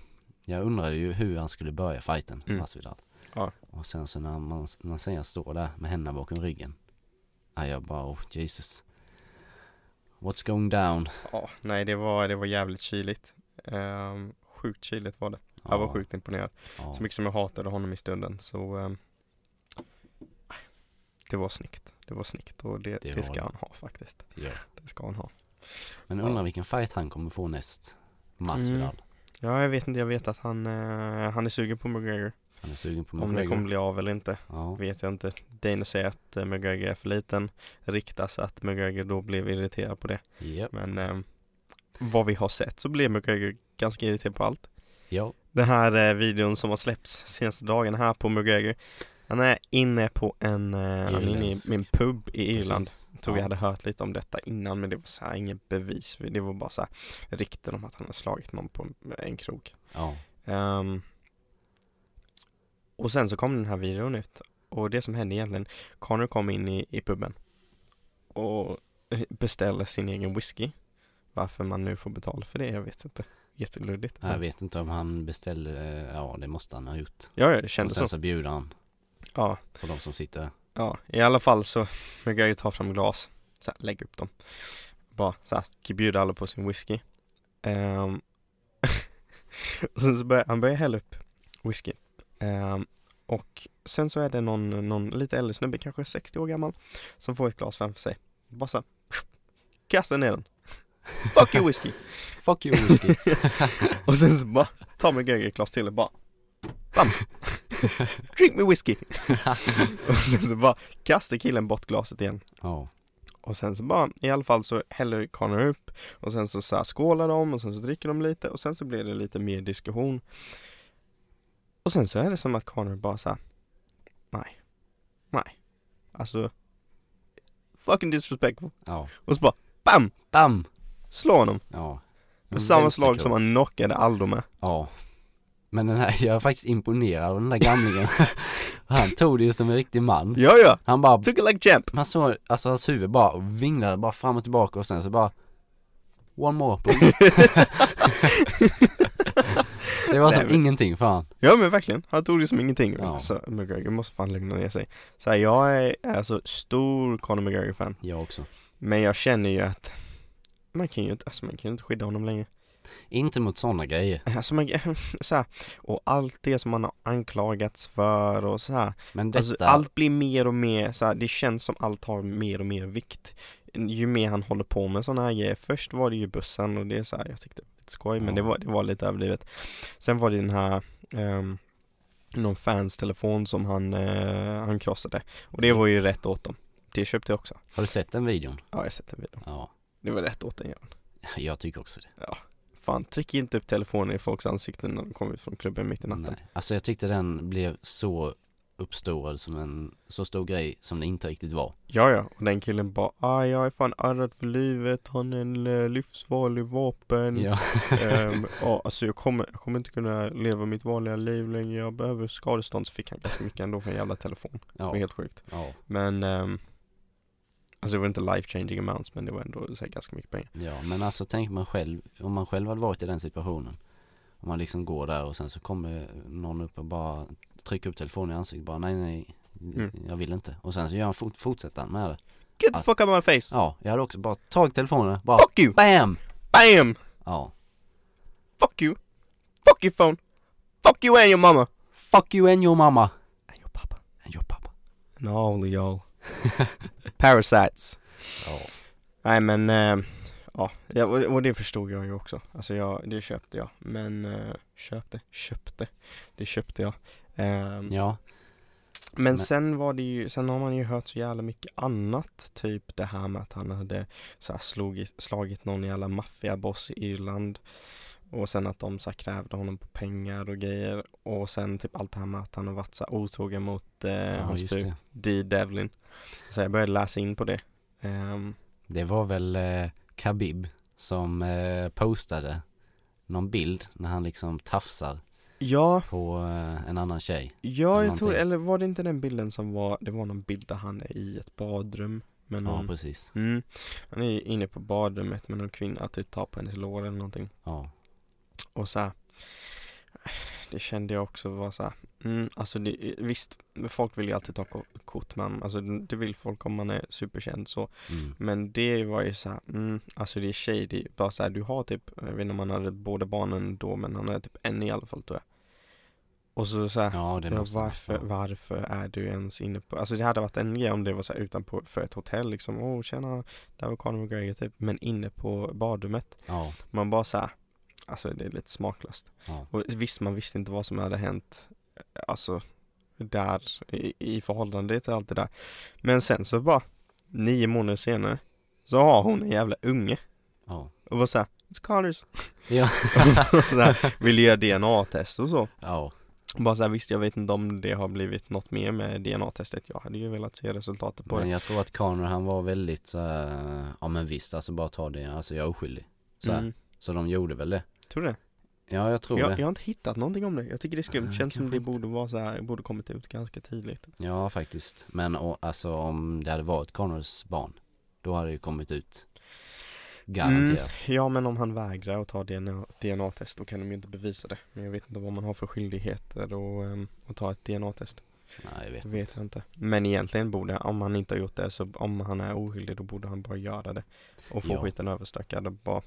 [SPEAKER 3] Jag undrade ju hur han skulle börja fighten,
[SPEAKER 2] Mm.
[SPEAKER 3] Masvidal
[SPEAKER 2] Ja.
[SPEAKER 3] Och sen så när man, när Sia står där med händerna bakom ryggen Ja, jag bara, oh Jesus What's going down?
[SPEAKER 2] Ja, nej det var, det var jävligt kyligt Ehm, Sjukt kyligt var det Jag var sjukt imponerad
[SPEAKER 3] ja.
[SPEAKER 2] Så mycket som jag hatade honom i stunden så ehm, Det var snyggt Det var snyggt och det,
[SPEAKER 3] Det
[SPEAKER 2] det,
[SPEAKER 3] var
[SPEAKER 2] ska
[SPEAKER 3] det.
[SPEAKER 2] han ha faktiskt
[SPEAKER 3] Ja.
[SPEAKER 2] Det ska han ha
[SPEAKER 3] Men undrar vilken fight han kommer få näst Masvidal
[SPEAKER 2] Mm. Ja jag vet inte, jag vet att han, eh, han är sugen på McGregor
[SPEAKER 3] Han är sugen på
[SPEAKER 2] Om det kommer
[SPEAKER 3] McGregor
[SPEAKER 2] bli av eller inte
[SPEAKER 3] ja.
[SPEAKER 2] vet jag inte Dana säger att eh, McGregor är för liten Riktas att McGregor då blev irriterad på det
[SPEAKER 3] Japp.
[SPEAKER 2] Men ehm, vad vi har sett så blev McGregor ganska irriterad på allt
[SPEAKER 3] ja,
[SPEAKER 2] Den här eh, videon som har släppts senaste dagen här på McGregor Han är inne på en, eh, han är inne i
[SPEAKER 3] Irländsk.
[SPEAKER 2] min pub i Irland
[SPEAKER 3] precis.
[SPEAKER 2] Jag tror
[SPEAKER 3] ja.
[SPEAKER 2] jag hade hört lite om detta innan men det var så här inget bevis Det var bara så här rykten om att han har slagit någon på en krog
[SPEAKER 3] Ja,
[SPEAKER 2] Ehm, Och sen så kom den här videon ut Och det som hände egentligen Connor kom in i, i puben Och beställde sin egen whisky Varför man nu får betala för det, jag vet inte Jätteluddigt
[SPEAKER 3] jag vet inte om han beställde, eh, ja det måste han ha gjort
[SPEAKER 2] Ja, ja, det
[SPEAKER 3] Och
[SPEAKER 2] kändes så
[SPEAKER 3] sen så bjuder han
[SPEAKER 2] Ja,
[SPEAKER 3] på de som sitter där
[SPEAKER 2] Ja, i alla fall så brukar jag ju ta fram glas, så här, lägga upp dem. Bara så här, typ bjuda alla på sin whisky. Ehm, och sen så börjar han börjar hälla upp whisky. Ehm, och sen så är det någon, någon lite äldre snubbe, kanske 60 år gammal, som får ett glas framför sig. Bara så här, kastar ner den. Fuck you whisky!
[SPEAKER 3] Fuck you whisky
[SPEAKER 2] Och sen så bara tar man Gregor ett glas till och bara Bam! Drink me whisky! och sen så bara kastar killen bort glaset igen
[SPEAKER 3] Ja,
[SPEAKER 2] Och sen så bara, i alla fall så häller Connor upp och sen så, så här skålar de och sen så dricker de lite och sen så blir det lite mer diskussion. Och sen så är det som att Connor bara så här, nej, nej, alltså fucking disrespectful.
[SPEAKER 3] ja,
[SPEAKER 2] Och så bara, bam,
[SPEAKER 3] bam!
[SPEAKER 2] slå honom.
[SPEAKER 3] Ja
[SPEAKER 2] Med samma
[SPEAKER 3] Vänsterkrok.
[SPEAKER 2] slag som han knockade Aldo med.
[SPEAKER 3] Ja Men den här, jag är faktiskt imponerad av den där gamlingen Han tog det ju som en riktig man
[SPEAKER 2] Ja, ja,
[SPEAKER 3] Han bara,
[SPEAKER 2] took it like champ.
[SPEAKER 3] man såg, alltså hans huvud bara vinglade bara fram och tillbaka och sen så bara One more please Det var
[SPEAKER 2] Nej,
[SPEAKER 3] som
[SPEAKER 2] men-
[SPEAKER 3] ingenting för han
[SPEAKER 2] Ja men verkligen, han tog det som ingenting.
[SPEAKER 3] Ja.
[SPEAKER 2] Alltså McGregor måste fan lugna ner sig. Så här, jag är alltså stor Conor McGregor-fan.
[SPEAKER 3] Jag också
[SPEAKER 2] Men jag känner ju att man kan ju inte, alltså man kan ju inte skydda honom längre.
[SPEAKER 3] Inte mot sådana grejer
[SPEAKER 2] Alltså man, så här, och allt det som man har anklagats för och så här.
[SPEAKER 3] Men
[SPEAKER 2] Alltså,
[SPEAKER 3] detta
[SPEAKER 2] allt blir mer och mer så här, det känns som allt har mer och mer vikt. Ju mer han håller på med sådana här grejer. Först var det ju bussen och det är så här, jag tyckte det var lite skoj men det
[SPEAKER 3] Ja.
[SPEAKER 2] var, det var lite överdrivet. Sen var det den här ehm, någon fans telefon som han, eh, han krossade. Och
[SPEAKER 3] Mm.
[SPEAKER 2] det var ju rätt åt dem. Det köpte jag också.
[SPEAKER 3] Har du sett den videon?
[SPEAKER 2] Ja, jag har sett den videon.
[SPEAKER 3] Ja
[SPEAKER 2] Det var rätt åt den ja.
[SPEAKER 3] Jag tycker också det
[SPEAKER 2] Fan, tryck inte upp telefonen i folks ansikten när de kommer ut från klubben mitt i natten.
[SPEAKER 3] Nej. Alltså jag tyckte den blev så uppstorad som en, så stor grej som det inte riktigt var
[SPEAKER 2] Ja, ja, och den killen bara ah, jag är fan ärrad för livet, han är en eh, livsfarlig vapen.
[SPEAKER 3] Ja,
[SPEAKER 2] Mm. Ehm, ja, alltså jag kommer, jag kommer inte kunna leva mitt vanliga liv längre, jag behöver skadestånd. Så fick han ganska mycket ändå för en jävla telefon. Det var
[SPEAKER 3] ja,
[SPEAKER 2] helt sjukt.
[SPEAKER 3] ja,
[SPEAKER 2] Men, ehm, alltså det var inte life changing amounts, men det var ändå så här, ganska mycket pengar.
[SPEAKER 3] ja men alltså tänk man själv, om man själv hade varit i den situationen Om man liksom går där och sen så kommer någon upp och bara trycker upp telefonen i ansiktet bara nej nej
[SPEAKER 2] Mm.
[SPEAKER 3] Jag vill inte. Och sen så gör han fort, fortsätter han med det.
[SPEAKER 2] Get the fuck out of my face!
[SPEAKER 3] Ja, jag hade också bara tagit telefonen, bara
[SPEAKER 2] Fuck you!
[SPEAKER 3] BAM!
[SPEAKER 2] Bam!
[SPEAKER 3] Ja.
[SPEAKER 2] Fuck you! Fuck your phone! Fuck you and your mama!
[SPEAKER 3] Fuck you and your mamma.
[SPEAKER 2] And your papa.
[SPEAKER 3] And your pappa.
[SPEAKER 2] And all y'all. Parasites.
[SPEAKER 3] Ja.
[SPEAKER 2] Nej men, eh, ja, ja och, och det förstod jag ju också. Alltså jag, det köpte jag. Men, eh, köpte, köpte, det köpte jag. Ehm,
[SPEAKER 3] Ja.
[SPEAKER 2] Men
[SPEAKER 3] Men-
[SPEAKER 2] sen var det ju, sen har man ju hört så jävla mycket annat. Typ det här med att han hade så här slog, slagit någon jävla maffiaboss i Irland. Och sen att de så här krävde honom på pengar och grejer. Och sen typ allt det här med att han har varit så här otrogen mot eh,
[SPEAKER 3] ja,
[SPEAKER 2] hans
[SPEAKER 3] just
[SPEAKER 2] fru
[SPEAKER 3] det.
[SPEAKER 2] Dee Devlin. Så jag började läsa in på det. Ehm,
[SPEAKER 3] Det var väl eh, Khabib som eh, postade någon bild när han liksom tafsar
[SPEAKER 2] ja,
[SPEAKER 3] på eh, en annan tjej.
[SPEAKER 2] ja jag
[SPEAKER 3] Någonting.
[SPEAKER 2] tror, eller var det inte den bilden som var, det var någon bild där han är i ett badrum. Med
[SPEAKER 3] Ja,
[SPEAKER 2] någon,
[SPEAKER 3] precis.
[SPEAKER 2] mm, han är ju inne på badrummet med någon kvinna, typ tar på hennes lår eller någonting.
[SPEAKER 3] Ja.
[SPEAKER 2] Och så här, eh, det kände jag också var så här, mm, alltså det, visst, folk vill ju alltid ta ko- kort med en, alltså det vill folk om man är superkänd så,
[SPEAKER 3] Mm.
[SPEAKER 2] men det var ju så här, mm, alltså det är shady, bara så här, du har typ, jag vet inte om han hade båda barnen då, men han hade typ en i alla fall tror jag. Och så så här,
[SPEAKER 3] Ja, det
[SPEAKER 2] ja,
[SPEAKER 3] måste han
[SPEAKER 2] varför,
[SPEAKER 3] få.
[SPEAKER 2] varför är du ens inne på, alltså det hade varit en grej om det var så här utanpå, för ett hotell liksom, åh oh, tjena, där var Conor McGregor typ, men inne på badrummet.
[SPEAKER 3] Ja,
[SPEAKER 2] Man bara såhär, alltså det är lite smaklöst.
[SPEAKER 3] ja,
[SPEAKER 2] Och visst, man visste inte vad som hade hänt, eh, alltså där i, i förhållande till allt det där. Men sen så bara, nio månader senare, så har hon en jävla unge
[SPEAKER 3] ja.
[SPEAKER 2] och var såhär, it's Connors.
[SPEAKER 3] Ja.
[SPEAKER 2] Och såhär, vill göra DNA-test och så.
[SPEAKER 3] ja.
[SPEAKER 2] Och bara såhär, visst jag vet inte om det har blivit något mer med DNA-testet. Jag hade ju velat se resultatet på
[SPEAKER 3] Men
[SPEAKER 2] det.
[SPEAKER 3] jag tror att Connor han var väldigt så här, ja men visst alltså bara ta det, alltså jag är oskyldig. Så, här.
[SPEAKER 2] Mm.
[SPEAKER 3] så de gjorde väl det.
[SPEAKER 2] Tror du det?
[SPEAKER 3] Ja, jag tror
[SPEAKER 2] Jag,
[SPEAKER 3] det.
[SPEAKER 2] jag har inte hittat någonting om det. Jag tycker det är skumt.
[SPEAKER 3] Nej,
[SPEAKER 2] Känns som
[SPEAKER 3] kanske
[SPEAKER 2] det
[SPEAKER 3] inte.
[SPEAKER 2] borde vara så här, borde kommit ut ganska tidigt.
[SPEAKER 3] Ja, faktiskt. Men och, alltså om det hade varit Connors barn, då hade det ju kommit ut. Garanterat.
[SPEAKER 2] Mm, ja men om han vägrar att ta DNA DNA-test då kan de ju inte bevisa det. Men jag vet inte vad man har för skyldigheter och, ehm, att ta ett DNA-test.
[SPEAKER 3] Nej, jag vet
[SPEAKER 2] Det vet jag inte. Men egentligen borde, om han inte har gjort det så om han är oskyldig då borde han bara göra det. Och få
[SPEAKER 3] Ja.
[SPEAKER 2] skiten överstökad och bara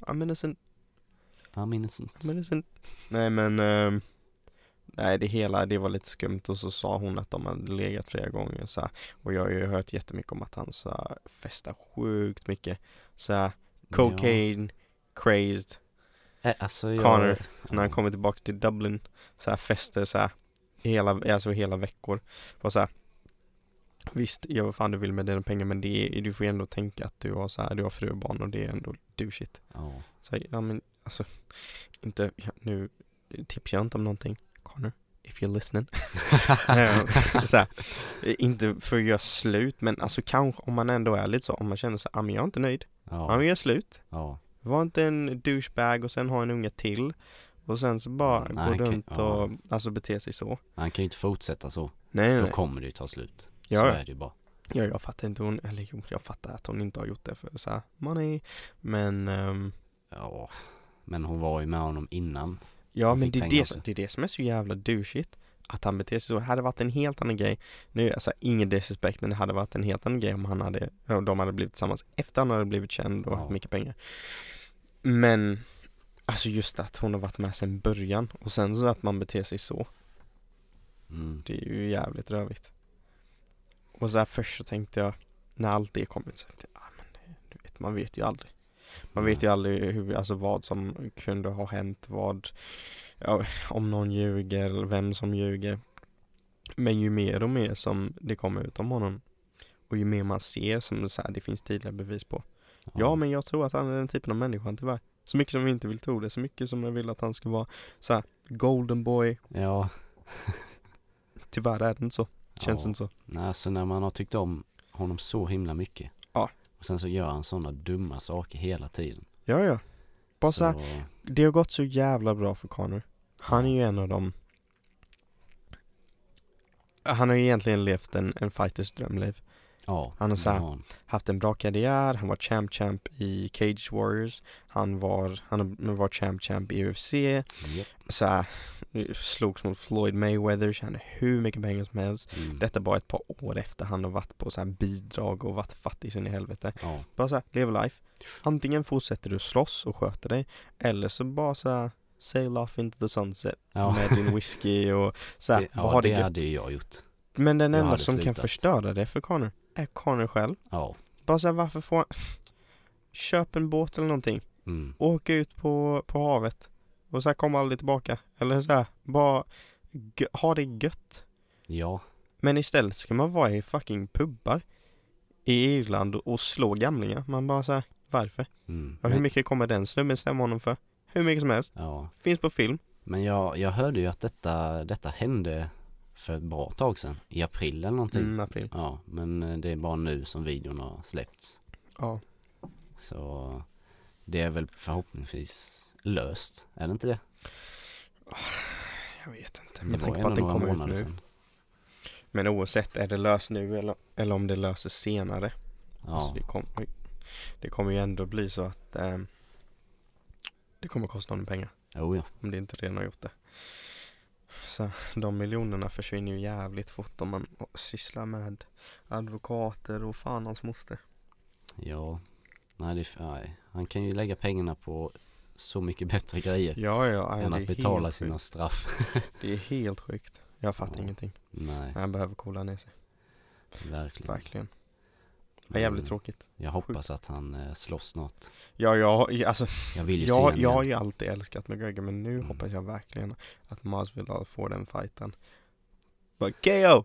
[SPEAKER 2] I'm innocent,
[SPEAKER 3] I'm innocent.
[SPEAKER 2] I'm innocent. Nej men ehm, Nej det hela, det var lite skumt och så sa hon att de hade legat flera gånger så här. Och jag har ju hört jättemycket om att han så här, festar sjukt mycket så här, cocaine, crazed
[SPEAKER 3] Ja. Eh, Alltså jag...
[SPEAKER 2] Connor, när han kommer tillbaka till Dublin så här fester så här hela, alltså hela veckor var så här Visst, gör vad fan du vill med dina pengar men det är, du får ju ändå tänka att du har så här, du har fru och barn och det är ändå du shit.
[SPEAKER 3] Ja.
[SPEAKER 2] Så här, ja men alltså, inte, ja, nu tipsar jag inte om någonting. Connor, if you're listening. Eh, så här, eh, inte för att göra slut men alltså kanske om man ändå är lite så, om man känner så här, "Ah, men jag är inte nöjd. Ja
[SPEAKER 3] Ja.
[SPEAKER 2] men gör slut.
[SPEAKER 3] Ja.
[SPEAKER 2] Var inte en douchebag och sen ha en unge till och sen så bara
[SPEAKER 3] Mm,
[SPEAKER 2] gå
[SPEAKER 3] nej, okej,
[SPEAKER 2] runt
[SPEAKER 3] ja.
[SPEAKER 2] och alltså bete sig så.
[SPEAKER 3] Han kan ju inte fortsätta så.
[SPEAKER 2] Nej, nej,
[SPEAKER 3] Då
[SPEAKER 2] nej.
[SPEAKER 3] kommer det ju ta slut. Så
[SPEAKER 2] Ja,
[SPEAKER 3] är det ju bara.
[SPEAKER 2] ja, jag fattar inte hon, eller jo, jag fattar att hon inte har gjort det för så här, money. Men, ehm,
[SPEAKER 3] Ja. Men hon var ju med honom innan.
[SPEAKER 2] ja
[SPEAKER 3] Hon
[SPEAKER 2] men
[SPEAKER 3] fick
[SPEAKER 2] det är
[SPEAKER 3] pengar
[SPEAKER 2] det,
[SPEAKER 3] också.
[SPEAKER 2] som- det är det som är så jävla douchigt. Att han beter sig så. Det hade varit en helt annan grej. Nu, alltså ingen disrespect men det hade varit en helt annan grej om han hade, och de hade blivit tillsammans efter han hade blivit känd och
[SPEAKER 3] Ja.
[SPEAKER 2] haft mycket pengar. Men, alltså just att hon har varit med sedan början och sen så att man beter sig så.
[SPEAKER 3] Mm.
[SPEAKER 2] Det är ju jävligt rövigt. Och så här först så tänkte jag, när allt det kom ut så tänkte jag, ah, men det- du vet, man vet ju aldrig. Man vet ju aldrig hur, alltså vad som kunde ha hänt, vad, ja, om någon ljuger eller vem som ljuger. Men ju mer och mer som det kommer ut om honom och ju mer man ser som så här, det finns tydliga bevis på. Ja men jag tror att han är den typen av människa tyvärr. Så mycket som vi inte vill tro det, så mycket som jag vill att han ska vara så här, golden boy.
[SPEAKER 3] Ja.
[SPEAKER 2] Tyvärr är det inte så, känns
[SPEAKER 3] ja.
[SPEAKER 2] inte så.
[SPEAKER 3] Nej, alltså när man har tyckt om honom så himla mycket.
[SPEAKER 2] Ja.
[SPEAKER 3] Och sen så gör han sådana dumma saker hela tiden.
[SPEAKER 2] Ja, ja. Bara så... här,
[SPEAKER 3] Så,
[SPEAKER 2] det har gått så jävla bra för Connor. Han är ju en av dem. Han har ju egentligen levt en, en fighters drömliv.
[SPEAKER 3] ja.
[SPEAKER 2] Han är så här-
[SPEAKER 3] det har han.
[SPEAKER 2] Haft en bra karriär, han var champ champ i Cage Warriors. Han var, han har varit champ champ i UFC.
[SPEAKER 3] Japp.
[SPEAKER 2] Så här, slogs mot Floyd Mayweather, tjänade hur mycket pengar som helst.
[SPEAKER 3] Mm.
[SPEAKER 2] Detta bara ett par år efter han har varit på så här bidrag och varit fattig så in i helvete.
[SPEAKER 3] Ja.
[SPEAKER 2] Bara så här, live life. Antingen fortsätter du slåss och sköter dig, eller så bara så här, sail off into the sunset
[SPEAKER 3] Ja.
[SPEAKER 2] med din whisky och så här,
[SPEAKER 3] Det,
[SPEAKER 2] bara ha
[SPEAKER 3] ja,
[SPEAKER 2] det
[SPEAKER 3] det
[SPEAKER 2] gött.
[SPEAKER 3] hade ju jag gjort.
[SPEAKER 2] Men den
[SPEAKER 3] jag
[SPEAKER 2] enda
[SPEAKER 3] hade
[SPEAKER 2] som kan
[SPEAKER 3] slutat.
[SPEAKER 2] förstöra det för Connor är Connor själv.
[SPEAKER 3] Ja.
[SPEAKER 2] Bara så här, varför får han... Köp en båt eller någonting.
[SPEAKER 3] Mm.
[SPEAKER 2] Åka ut på, på havet. Och så här, kom aldrig tillbaka. Eller så här, bara gö- ha det gött.
[SPEAKER 3] Ja.
[SPEAKER 2] Men istället ska man vara i fucking pubbar i Irland och slå gamlingar. Man bara så här, varför?
[SPEAKER 3] Mm.
[SPEAKER 2] Ja, hur
[SPEAKER 3] Men,
[SPEAKER 2] mycket kommer den snubben stämma honom för? Hur mycket som helst.
[SPEAKER 3] ja.
[SPEAKER 2] Finns på film.
[SPEAKER 3] Men jag, jag hörde ju att detta, detta hände för ett bra tag sedan. I april eller någonting.
[SPEAKER 2] Mm, april.
[SPEAKER 3] Ja, men eh, det är bara nu som videon har släppts.
[SPEAKER 2] Ja.
[SPEAKER 3] Så det är väl förhoppningsvis löst. Är det inte det?
[SPEAKER 2] Jag vet inte.
[SPEAKER 3] det
[SPEAKER 2] Med tanke på att den kommer ut nu.
[SPEAKER 3] sedan.
[SPEAKER 2] Men oavsett, är det löst nu eller, eller om det löses senare.
[SPEAKER 3] Ja,
[SPEAKER 2] Alltså det, kom, det kommer ju ändå bli så att ehm, det kommer kosta honom pengar.
[SPEAKER 3] jo ja.
[SPEAKER 2] Om det inte redan har gjort det. Så de miljonerna försvinner ju jävligt fort om man sysslar med advokater och fan hans moster.
[SPEAKER 3] Ja, nej det är, f- nej. Han kan ju lägga pengarna på så mycket bättre grejer
[SPEAKER 2] Ja, ja, nej,
[SPEAKER 3] än
[SPEAKER 2] det är
[SPEAKER 3] att betala
[SPEAKER 2] helt
[SPEAKER 3] sina
[SPEAKER 2] sjukt.
[SPEAKER 3] straff.
[SPEAKER 2] Det är helt sjukt. Jag fattar
[SPEAKER 3] Ja.
[SPEAKER 2] ingenting.
[SPEAKER 3] nej,
[SPEAKER 2] Han behöver coola ner sig.
[SPEAKER 3] verkligen.
[SPEAKER 2] Verkligen. Det är jävligt
[SPEAKER 3] Men
[SPEAKER 2] tråkigt.
[SPEAKER 3] Jag hoppas att han eh, slåss snart.
[SPEAKER 2] Ja, jag, alltså
[SPEAKER 3] Jag vill ju se
[SPEAKER 2] Jag,
[SPEAKER 3] honom
[SPEAKER 2] jag har
[SPEAKER 3] igen.
[SPEAKER 2] ju alltid älskat McGregor men nu
[SPEAKER 3] Mm.
[SPEAKER 2] hoppas jag verkligen att Masvidal får den fighten. Bara KO!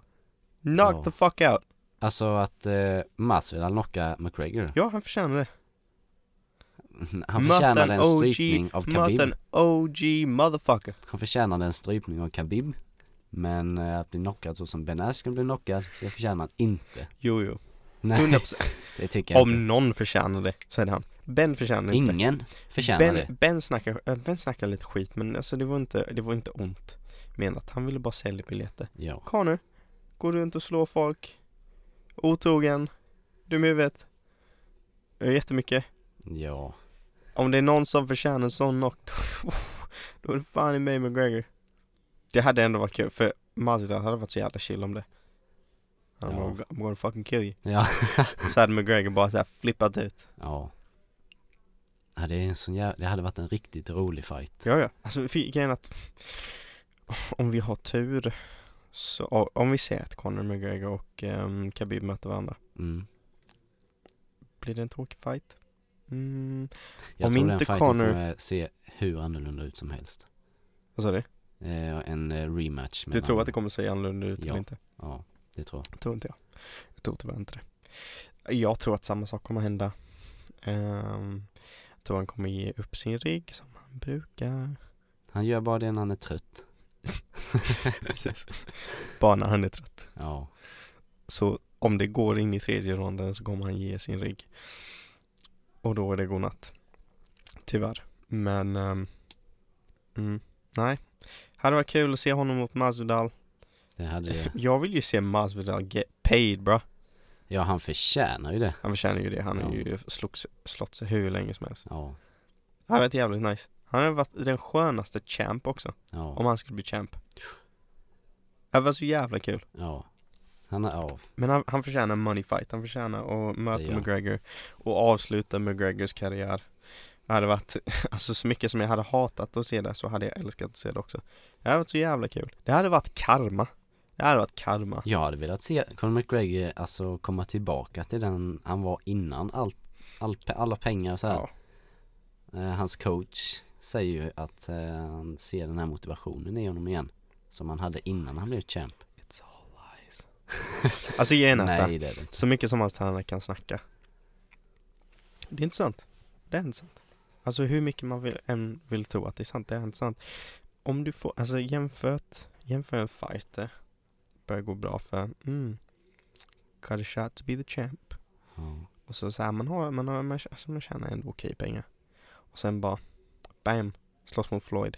[SPEAKER 2] Knock
[SPEAKER 3] Ja.
[SPEAKER 2] the fuck out!
[SPEAKER 3] Alltså att eh, Masvidal knockar McGregor.
[SPEAKER 2] Ja, han förtjänar det.
[SPEAKER 3] Han
[SPEAKER 2] Möt
[SPEAKER 3] förtjänade
[SPEAKER 2] en
[SPEAKER 3] en
[SPEAKER 2] OG,
[SPEAKER 3] strypning av Khabib.
[SPEAKER 2] Möt en OG motherfucker.
[SPEAKER 3] Han förtjänade en strypning av Khabib. Men eh, att bli knockad så som Ben Askren blev knockad, det förtjänar han inte.
[SPEAKER 2] Jo, jo.
[SPEAKER 3] Nej,
[SPEAKER 2] 100%.
[SPEAKER 3] det tycker jag
[SPEAKER 2] Om någon förtjänar det så är det han. Ben förtjänar
[SPEAKER 3] inte.
[SPEAKER 2] inte det.
[SPEAKER 3] Ingen förtjänar det.
[SPEAKER 2] Ben, ben, snackar, eh, ben snackar lite skit men alltså det var inte, det var inte ont menat. Han ville bara sälja biljetter.
[SPEAKER 3] Ja,
[SPEAKER 2] Connor, går runt och slår folk. Otrogen. Dum i huvudet. Eh, Jättemycket.
[SPEAKER 3] ja,
[SPEAKER 2] Om det är någon som förtjänar en sån knock, då, uff, då är det fan i mig McGregor. Det hade ändå varit kul, för Masvidal hade varit så jävla chill om det. Han
[SPEAKER 3] Ja.
[SPEAKER 2] bara, I'm gonna fucking kill you.
[SPEAKER 3] ja.
[SPEAKER 2] Så hade McGregor bara såhär flippat ut.
[SPEAKER 3] Ja. Ja, det är en sån jävla, det hade varit en riktigt rolig fight.
[SPEAKER 2] Ja, ja. Alltså fi- grejen är att om vi har tur, så, o- om vi ser att Conor McGregor och um, Khabib möter varandra,
[SPEAKER 3] Mm.
[SPEAKER 2] blir det en tråkig fight? Mm,
[SPEAKER 3] Jag
[SPEAKER 2] Om
[SPEAKER 3] tror den
[SPEAKER 2] inte
[SPEAKER 3] fighten
[SPEAKER 2] Conor-
[SPEAKER 3] kommer se hur annorlunda ut som helst.
[SPEAKER 2] vad sa du?
[SPEAKER 3] Eh, en eh, rematch.
[SPEAKER 2] Du
[SPEAKER 3] mellan-
[SPEAKER 2] tror att det kommer se annorlunda ut
[SPEAKER 3] Ja.
[SPEAKER 2] eller inte?
[SPEAKER 3] Ja, det tror jag.
[SPEAKER 2] tror inte jag. Jag tror tyvärr inte det. Jag tror att samma sak kommer hända. Ehm, jag tror han kommer ge upp sin rigg som han brukar.
[SPEAKER 3] Han gör bara det när han är trött.
[SPEAKER 2] Precis. Bara när han är trött.
[SPEAKER 3] Ja,
[SPEAKER 2] Så om det går in i tredje ronden så kommer han ge sin rigg. Och då är det godnatt. Tyvärr. Men ehm, mm, nej. Hade varit kul att se honom mot Masvidal.
[SPEAKER 3] det hade,
[SPEAKER 2] Jag vill ju se Masvidal get paid bra.
[SPEAKER 3] ja han förtjänar ju det.
[SPEAKER 2] Han förtjänar ju det. Han har
[SPEAKER 3] Ja.
[SPEAKER 2] ju slogs, slått sig hur länge som helst.
[SPEAKER 3] Ja,
[SPEAKER 2] Han varit jävligt nice. Han hade varit den skönaste champ också. Om
[SPEAKER 3] ja,
[SPEAKER 2] han skulle bli champ. Det var så jävla kul.
[SPEAKER 3] ja. Han, har- ja,
[SPEAKER 2] Men han, han förtjänar en money fight. Han förtjänar att möta
[SPEAKER 3] Det gör han.
[SPEAKER 2] McGregor. Och avsluta McGregors karriär. Det hade varit, alltså så mycket som jag hade hatat att se det så hade jag älskat att se det också. Det hade varit så jävla kul. Det hade varit karma. Det hade varit karma.
[SPEAKER 3] Jag hade velat se Conor McGregor alltså komma tillbaka till den han var innan allt, allt, alla pengar och så här.
[SPEAKER 2] Ja.
[SPEAKER 3] Eh, hans coach säger ju att eh, han ser den här motivationen i honom igen. Som han hade innan han blev champ.
[SPEAKER 2] It's all lies. alltså grejen är så här.
[SPEAKER 3] Nej det är det inte.
[SPEAKER 2] Så mycket som hans tränare kan snacka. Det är inte sant. Det är inte sant. Alltså hur mycket man vill, än vill tro att det är sant, det är inte sant. Om du får, alltså jämfört, jämför en fighter, börjar gå bra för, mm, cut a shot to be the champ.
[SPEAKER 3] Ja.
[SPEAKER 2] Och så så här, man har, man har, man, alltså, man tjänar ändå okej pengar. Och sen bara, bam, slåss mot Floyd.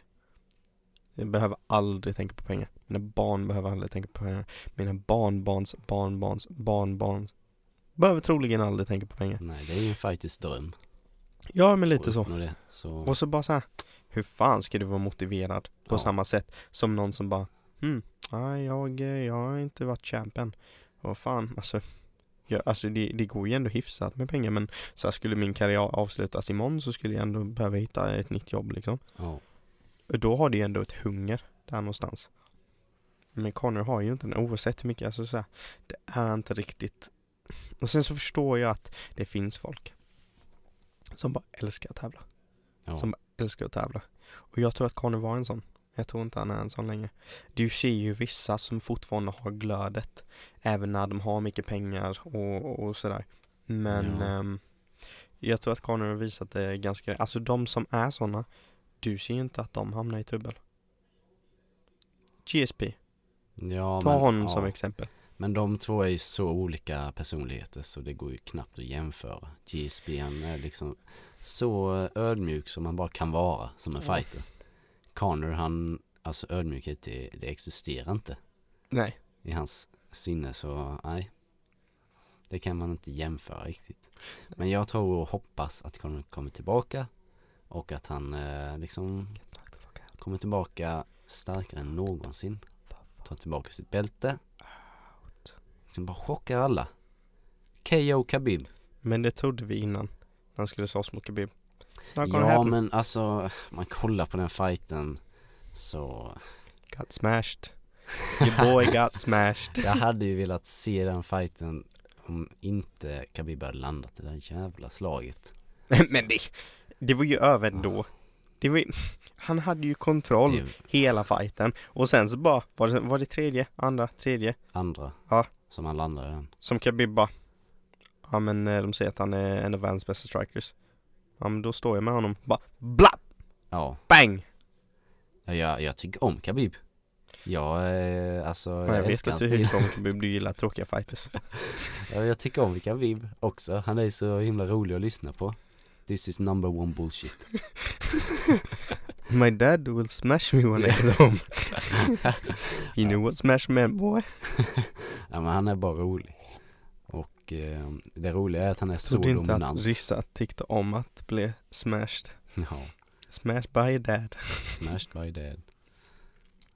[SPEAKER 2] Jag behöver aldrig tänka på pengar. Mina barn behöver aldrig tänka på pengar. Mina barnbarns barnbarns barnbarns behöver troligen aldrig tänka på pengar.
[SPEAKER 3] Nej det är ju en fighters dröm.
[SPEAKER 2] Ja, men
[SPEAKER 3] att
[SPEAKER 2] lite så.
[SPEAKER 3] uppnå Det. Så
[SPEAKER 2] Och så bara så här, hur fan ska du vara motiverad på
[SPEAKER 3] Ja.
[SPEAKER 2] samma sätt som någon som bara hmm, nej jag, eh, jag har inte varit champ än. Vad fan, alltså, jag, alltså det, det går ju ändå hyfsat med pengar men så här skulle min karriär avslutas imorgon så skulle jag ändå behöva hitta ett nytt jobb liksom.
[SPEAKER 3] Ja.
[SPEAKER 2] Och då har du ju ändå ett hunger där någonstans. Men Connor har ju inte den oavsett hur mycket, alltså så här, det är inte riktigt. Och sen så förstår jag att det finns folk som bara älskar att tävla
[SPEAKER 3] Ja.
[SPEAKER 2] Som- älskar att tävla. Och jag tror att Connor var en sån. Jag tror inte han är en sån längre. Du ser ju vissa som fortfarande har glödet. Även när de har mycket pengar och, och sådär. Men
[SPEAKER 3] Ja.
[SPEAKER 2] ehm, jag tror att Connor har visat det ganska, alltså de som är såna, du ser ju inte att de hamnar i trubbel. GSP,
[SPEAKER 3] ja,
[SPEAKER 2] ta
[SPEAKER 3] men-
[SPEAKER 2] honom
[SPEAKER 3] ja.
[SPEAKER 2] som exempel.
[SPEAKER 3] Men de två är ju så olika personligheter så det går ju knappt att jämföra. GSP han är liksom så ödmjuk som man bara kan vara som en
[SPEAKER 2] Ja.
[SPEAKER 3] fighter. Connor han, alltså ödmjukhet det, det existerar inte
[SPEAKER 2] Nej,
[SPEAKER 3] i hans sinne så nej. Det kan man inte jämföra riktigt. Men jag tror och hoppas att Connor kommer tillbaka och att han eh, liksom kommer tillbaka starkare än någonsin. Tar tillbaka sitt bälte. Liksom bara chockar alla. KO Khabib.
[SPEAKER 2] men det trodde vi innan. När han skulle slåss mot Khabib. Snart kommer
[SPEAKER 3] Ja
[SPEAKER 2] ja, men...
[SPEAKER 3] men alltså, man kollar på den fighten så
[SPEAKER 2] Got smashed. Your boy got smashed.
[SPEAKER 3] jag hade ju velat se den fighten om inte Khabib hade landat det där jävla slaget.
[SPEAKER 2] Men det, det var ju över ändå. Det var ju, han hade ju kontroll
[SPEAKER 3] Det är
[SPEAKER 2] hela fighten och sen så bara var det, var det tredje, andra, tredje
[SPEAKER 3] andra
[SPEAKER 2] Ja.
[SPEAKER 3] som han landade den.
[SPEAKER 2] som Khabib bara Ja men eh, de säger att han är en av världens bästa strikers. Ja men då står jag med honom bara bla
[SPEAKER 3] Ja,
[SPEAKER 2] bang!
[SPEAKER 3] ja, jag, jag tycker om Khabib. Jag, eh, alltså,
[SPEAKER 2] Ja,
[SPEAKER 3] jag,
[SPEAKER 2] jag vet
[SPEAKER 3] älskar
[SPEAKER 2] att
[SPEAKER 3] hans
[SPEAKER 2] du
[SPEAKER 3] stil.
[SPEAKER 2] tycker om Khabib, du gillar tråkiga fighters.
[SPEAKER 3] Ja, jag tycker om Khabib också. Han är så himla rolig att lyssna på. This is number one bullshit.
[SPEAKER 2] My dad will smash me when I get home. You know what smash man boy?
[SPEAKER 3] Ja, men han är bara rolig. Och eh, det roliga är att han är så
[SPEAKER 2] Trodde inte att
[SPEAKER 3] dominant.
[SPEAKER 2] ryssar tyckte om att bli smashed.
[SPEAKER 3] Ja,
[SPEAKER 2] Smashed by your dad.
[SPEAKER 3] smashed by dad.